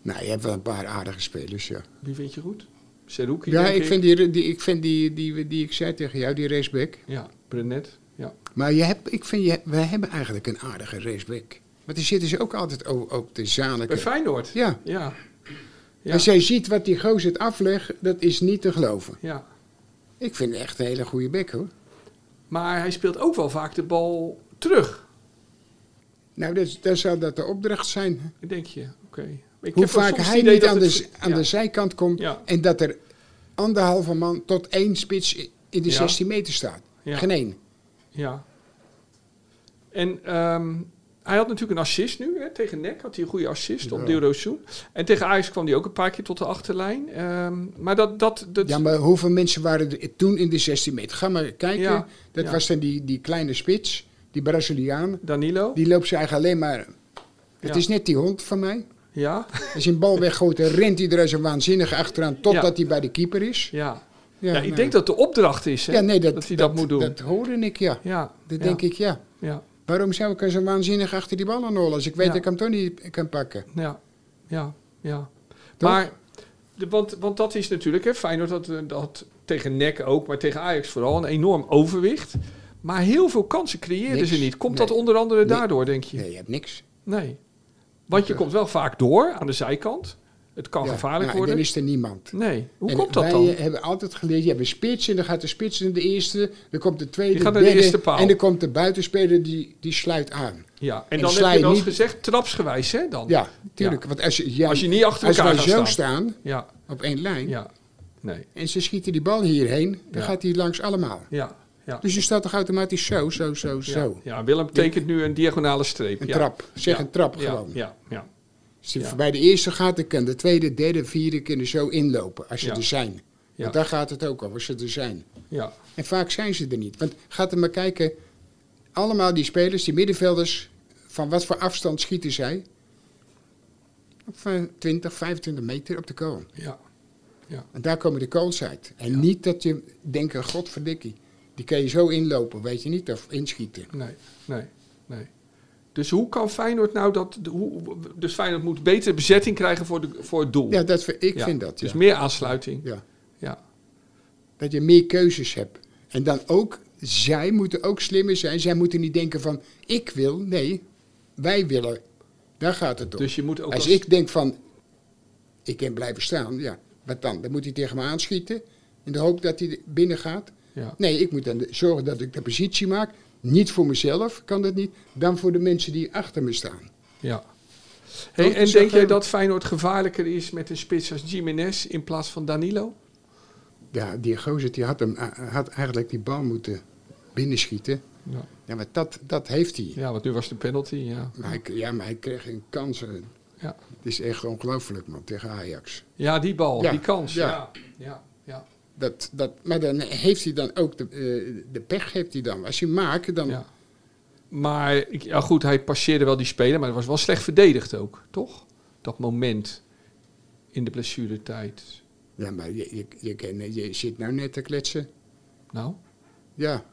Nou, je hebt wel een paar aardige spelers, ja.
wie vind je goed? Seruki,
Ja,
denk
ik vind die, die, ik vind die, die, die, ik zei tegen jou, die raceback.
Ja, Brenet, ja.
Maar je hebt, ik vind, je, wij hebben eigenlijk een aardige raceback. Want die zitten ze ook altijd o- op de
Bij
zaniken.
Feyenoord?
Ja.
Ja, ja.
Als jij ziet wat die gozer het aflegt, dat is niet te geloven.
ja.
Ik vind het echt een hele goede bek, hoor.
Maar hij speelt ook wel vaak de bal terug,
Nou, dat, dan zou dat de opdracht zijn.
denk je. Oké. Ik
Hoe
heb wel
vaak
soms het
hij
idee
niet
dat
aan de,
het-
z- aan
ja.
de zijkant komt
Ja.
en dat er anderhalve man tot één spits i- in de
Ja.
16 meter staat.
Ja.
Geen één.
Ja. En ehm, hij had natuurlijk een assist nu. Hè. Tegen NEC had hij een goede assist op Dilrosun. En tegen Ajax kwam hij ook een paar keer tot de achterlijn. Ehm, maar dat... dat, dat
Ja, maar hoeveel mensen waren er toen in de 16 meter? Ga maar kijken.
Ja,
Dat
ja.
was dan die, die kleine spits, die Braziliaan.
Danilo?
Die loopt ze eigenlijk alleen maar... Het
Ja.
is net die hond van mij.
Ja?
Als je een bal weggooit, dan rent hij er als een waanzinnige achteraan... totdat hij bij de keeper is.
Ja.
Ja,
Ja, ik
nou.
denk dat de opdracht is hè,
Ja, nee, dat,
hij dat, moet doen.
Dat hoorde ik, ja.
ja.
Dat
ja,
denk ik, ja.
Ja.
Waarom zou ik als een waanzinnig achter die bal aan rollen... als ik weet
Ja.
dat ik hem toch niet kan pakken?
Ja, ja, ja.
Toch?
Maar, de, want, want dat is natuurlijk, hè, Feyenoord had, eh, dat tegen NEC ook, maar tegen Ajax vooral, een enorm overwicht. Maar heel veel kansen creëerden
Niks.
ze niet. Komt dat
Nee.
onder andere
Nee.
daardoor, denk je?
Nee, je hebt niks.
Nee. Want je komt wel vaak door aan de zijkant. Het kan
Ja,
gevaarlijk
nou,
worden.
Dan is er niemand.
Nee. Hoe
En
komt dat
wij
dan?
eh, hebben altijd geleerd, je hebt een spits en dan gaat de spits in de eerste, dan komt de tweede,
Die gaat naar de
derde,
eerste paal. Oh.
en dan komt de buitenspeler die, die sluit aan.
Ja. En
en
dan
sla
heb je
je
wel eens
niet-
gezegd, trapsgewijs, hè? Dan.
Ja, tuurlijk. Want als je, ja,
Als je niet achter
als
elkaar
wij
gaat
zo
staan.
staan
Ja.
op één lijn
Ja. Nee.
en ze schieten die bal hierheen, dan
Ja.
gaat die langs allemaal.
Ja. Ja.
Dus je staat toch automatisch zo, zo, zo,
Ja.
zo.
ja, Willem tekent nu een diagonale streep.
Een
ja.
trap. Zeg
Ja.
een trap
Ja.
gewoon.
Ja. ja.
Als je
Ja.
bij de eerste gaat, dan kan de tweede, derde, vierde kunnen zo inlopen als ze
Ja.
er zijn.
Ja.
Want daar gaat het ook om, als ze er zijn.
Ja,
En vaak zijn ze er niet. Want gaat er maar kijken, allemaal die spelers, die middenvelders, van wat voor afstand schieten zij? Op eh, 20, 25 meter op de kool.
ja,
En daar komen de kools uit. En niet dat je denkt, godverdikkie, die kan je zo inlopen, weet je niet, of inschieten.
nee, nee, nee. Dus hoe kan Feyenoord nou dat... de- Hoe, dus Feyenoord moet betere bezetting krijgen voor, de, voor het doel.
Ja, dat, vind- ik
Ja,
vind dat.
Dus
ja.
meer aansluiting.
Ja.
Ja,
Dat je meer keuzes hebt. En dan ook, zij moeten ook slimmer zijn. Zij moeten niet denken van, ik wil. Nee, wij willen. Daar gaat het om.
Dus je moet ook
als,
als-
ik denk van, ik kan blijven staan. Ja, wat dan? Dan moet hij tegen me aanschieten. In de hoop dat hij er binnen gaat.
Ja.
Nee, ik moet dan de- zorgen dat ik de positie maak. Niet voor mezelf, kan dat niet. Dan voor de mensen die achter me staan.
ja. Hey, en
zeg,
denk jij
eh,
dat Feyenoord gevaarlijker is met een spits als Jiménez in plaats van Danilo?
Ja, die gozer die had, hem, eh, had eigenlijk die bal moeten binnenschieten.
Ja,
Ja, maar dat, dat heeft hij.
ja want nu was de penalty, ja.
Maar hij, ja, maar hij kreeg een kans. eh,
Ja,
Het is echt ongelooflijk, man, tegen Ajax.
ja die bal,
Ja,
die kans. Ja.
ja.
Ja, ja,
Dat, dat, maar dan heeft hij dan ook de, eh, de pech. Heeft hij dan. Als hij maakt, dan.
ja. Maar ik- ja, goed, hij passeerde wel die speler, maar het was wel slecht verdedigd ook, toch? Dat moment in de blessuretijd.
Ja, maar je, je, je, ken- je zit nou net te kletsen.
Nou,
Ja.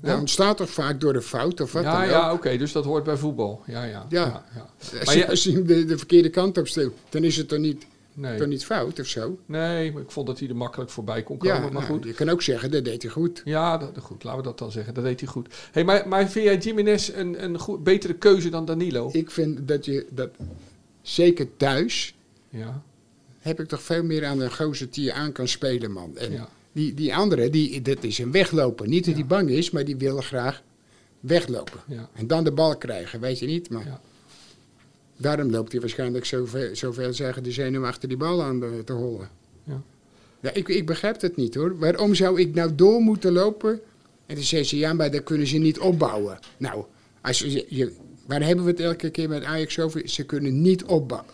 Dat
Ja.
ontstaat toch vaak door de fout of wat
ja,
dan
ja
ook.
oké, dus dat hoort bij voetbal. Ja, ja.
Ja. Als,
Maar
je,
je-
als je hem de, de verkeerde kant op steekt, dan is het toch niet, toch
nee.
niet fout of zo?
nee, maar ik vond dat hij er makkelijk voorbij kon komen, maar
nou,
goed.
je kan ook zeggen, dat deed hij goed.
Ja, dat, goed, laten we dat dan zeggen. Dat deed hij goed. Hey, maar, maar vind jij Jiménez een, een goed, betere keuze dan Danilo?
Ik vind dat je dat, zeker thuis,
Ja,
heb ik toch veel meer aan een gozer die je aan kan spelen, man. En
Ja.
die, die andere, die, dat is een wegloper. Niet dat hij bang is, maar die wil graag weglopen.
Ja.
En dan de bal krijgen, weet je niet. Maar
Ja.
daarom loopt hij waarschijnlijk zoveel, zoveel zeggen de zenuw achter die bal aan eh, te hollen.
Ja.
Ja, ik, ik begrijp het niet hoor. Waarom zou ik nou door moeten lopen? En dan zei ze, ja, maar dat kunnen ze niet opbouwen. Nou, als je, je- waar hebben we het elke keer met Ajax over? Ze kunnen niet opbouwen.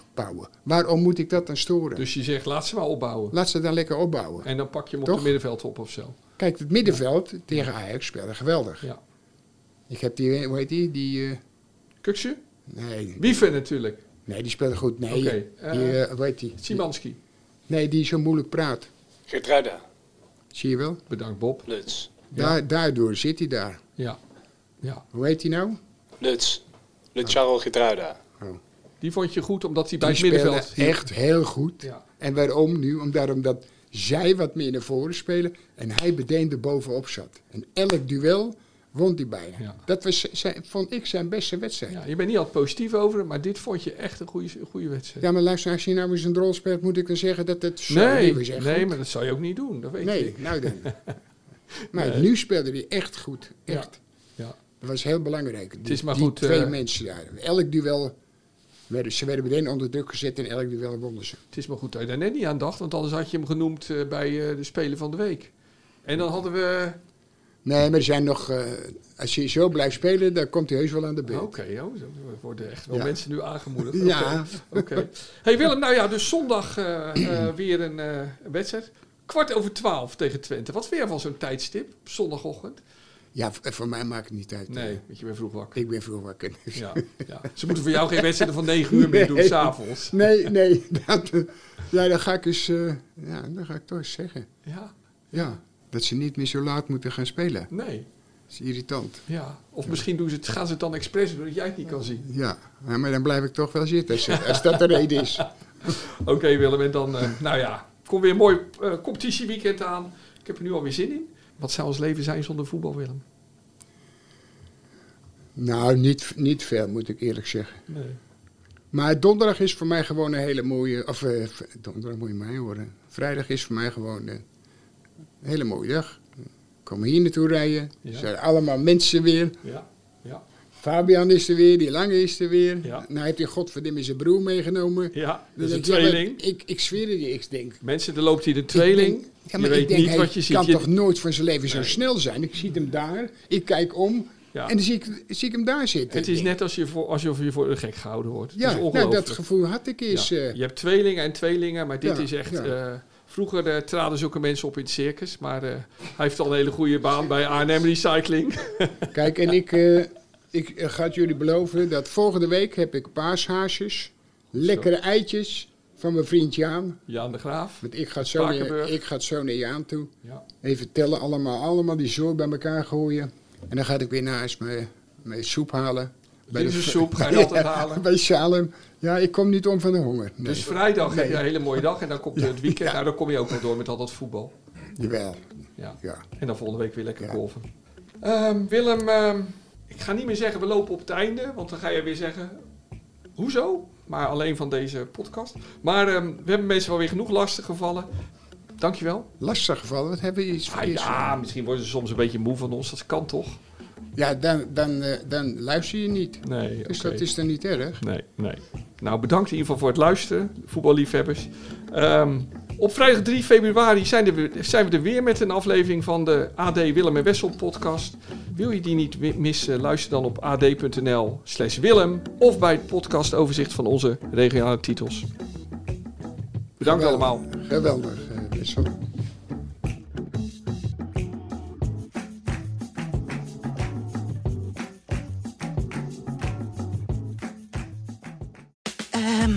Waarom moet ik dat dan storen?
Dus je zegt, laat ze maar opbouwen.
Laat ze dan lekker opbouwen.
En dan pak je hem op
Toch?
de middenveld op of zo.
Kijk, het middenveld tegen Ajax speelde geweldig.
Ja.
Ik heb die, hoe heet die? Die, eh,
Kuksje?
nee,
Wieven natuurlijk.
nee, die speelde goed. Nee,
Oké,
die,
eh,
eh, hoe heet die?
Simanski.
Nee, die zo moeilijk praat.
Geertruida,
Zie je wel?
Bedankt Bob.
Luts,
Daar, daardoor zit hij daar.
Ja. ja.
Hoe heet hij nou?
Luts, Luts Charles Geertruida.
Die vond je goed omdat hij bij
Die
het middenveld...
speelde echt heel goed.
Ja.
En waarom nu? Omdat, omdat zij wat meer naar voren spelen en hij bedeende bovenop zat. En elk duel won hij bijna.
Ja.
Dat was, zijn, vond ik zijn beste wedstrijd.
Ja,
Ja.
je bent niet altijd positief over hem, maar dit vond je echt een goede, een goede wedstrijd.
maar luister, als je nou eens een rol speelt, moet ik dan zeggen dat het zo die
nee,
was echt
nee
goed.
maar dat zou je ook niet doen. Dat weet
Nee,
ik.
nou
[laughs]
dan. Maar nu speelde hij echt goed.
Ja.
Echt.
Ja.
Dat was heel belangrijk. Het
is maar
die
goed,
twee
eh,
mensen daar. Elk duel, werden, ze werden meteen onder druk gezet en elk duel wonnen ze.
Het is maar goed dat je daar net niet aan dacht, want anders had je hem genoemd eh, bij eh, de Spelen van de Week. En dan hadden we...
Nee, maar er zijn nog. eh, als je zo blijft spelen, dan komt hij heus wel aan de beurt.
Oké, joh, er worden echt wel
Ja.
mensen nu aangemoedigd. Oké,
[laughs] Ja.
oké. hey Willem, nou ja, dus zondag eh,
[clears throat]
eh, weer een eh, een wedstrijd. Kwart over twaalf tegen Twente. Wat weer van zo'n tijdstip, zondagochtend?
Ja, v- voor mij maakt het niet uit. eh.
Nee, want je bent vroeg wakker.
Ik ben vroeg wakker. [laughs]
Ja, ja. Ze moeten voor jou geen wedstrijden van negen uur meer doen,
Nee.
s'avonds.
Nee, nee. Dat, eh, ja, dan ga ik eens. eh, ja, dan ga ik toch eens zeggen.
Ja,
Ja, dat ze niet meer zo laat moeten gaan spelen.
nee.
Dat is irritant.
Ja, of misschien doen ze het, gaan ze het dan expres doen dat jij het niet kan zien.
Ja, ja, maar dan blijf ik toch wel zitten als, als dat de reden is.
Oké Willem, en dan, eh, nou ja, kom weer een mooi eh, competitieweekend aan. Ik heb er nu alweer zin in. Wat zou ons leven zijn zonder voetbal, Willem?
Nou, niet, niet veel, moet ik eerlijk zeggen.
Nee.
Maar donderdag is voor mij gewoon een hele mooie. Of eh, v- donderdag moet je mij horen. Vrijdag is voor mij gewoon eh, een hele mooie dag. Kom hier naartoe rijden.
Ja.
Er zijn allemaal mensen weer.
Ja, ja,
Fabian is er weer, die Lange is er weer.
Ja.
Nou heeft hij godverdomme zijn broer meegenomen.
ja.
Dus
Dat is een
ik zeg,
tweeling.
maar, Ik, ik zweer het je, ik denk.
Mensen, er loopt hier een tweeling.
Ik denk- ja,
je
maar
weet
ik denk,
niet
hij
wat je ziet.
kan
Je-
toch nooit van zijn leven zo snel zijn? Ik zie hem daar, ik kijk om
Ja.
en dan zie ik, zie ik hem daar zitten.
het is net als je voor, alsof je voor de gek gehouden wordt.
Ja,
het is
nou,
ongelooflijk.
dat gevoel had ik eens.
Ja.
eh,
Je hebt tweelingen en tweelingen, maar dit
Ja,
is echt...
ja.
eh, vroeger eh, traden zulke mensen op in het circus, maar eh, hij heeft al een hele goede baan bij A&M Recycling. [laughs]
Kijk, en ik, eh, ik eh, ga het jullie beloven dat volgende week heb ik paashaasjes, lekkere eitjes van mijn vriend Jaan.
Jaan de Graaf.
Want ik ga, het zo naar,
Spakenburg.
ik ga het zo naar Jaan toe.
Ja.
Even tellen allemaal, allemaal die zooi bij elkaar gooien. En dan ga ik weer naar huis mijn, mijn soep halen. Bij de- [laughs]
Linzensoep ga je altijd halen.
Bij Salem. Ja, ik kom niet om van de honger. Nee,
Dus vrijdag heb je
Nee.
een hele mooie dag en
[laughs]
dan komt het weekend. Nou, dan kom je ook nog door met al dat voetbal.
Jawel,
Ja.
ja.
En dan volgende week weer lekker
Ja.
golven. Ehm, Willem, ehm, ik ga niet meer zeggen we lopen op het einde, want dan ga je weer zeggen hoezo, maar alleen van deze podcast. Maar ehm, we hebben mensen wel weer genoeg lastig gevallen. Dankjewel.
Lastig gevallen, wat hebben we iets
Ah,
verkeerds?
ja, misschien worden ze soms een beetje moe van ons. Dat kan toch?
Ja, dan, dan, eh, dan luister je niet.
Nee,
Dus
oké.
dat is dan niet erg.
Nee, nee. Nou, bedankt in ieder geval voor het luisteren, voetballiefhebbers. Ehm, op vrijdag 3 februari zijn, er weer- zijn we er weer met een aflevering van de AD Willem en Wessel podcast. Wil je die niet wi- missen, luister dan op ad.nl slash Willem of bij het podcastoverzicht van onze regionale titels. Bedankt allemaal.
Geweldig, eh, Wessel.
Ehm,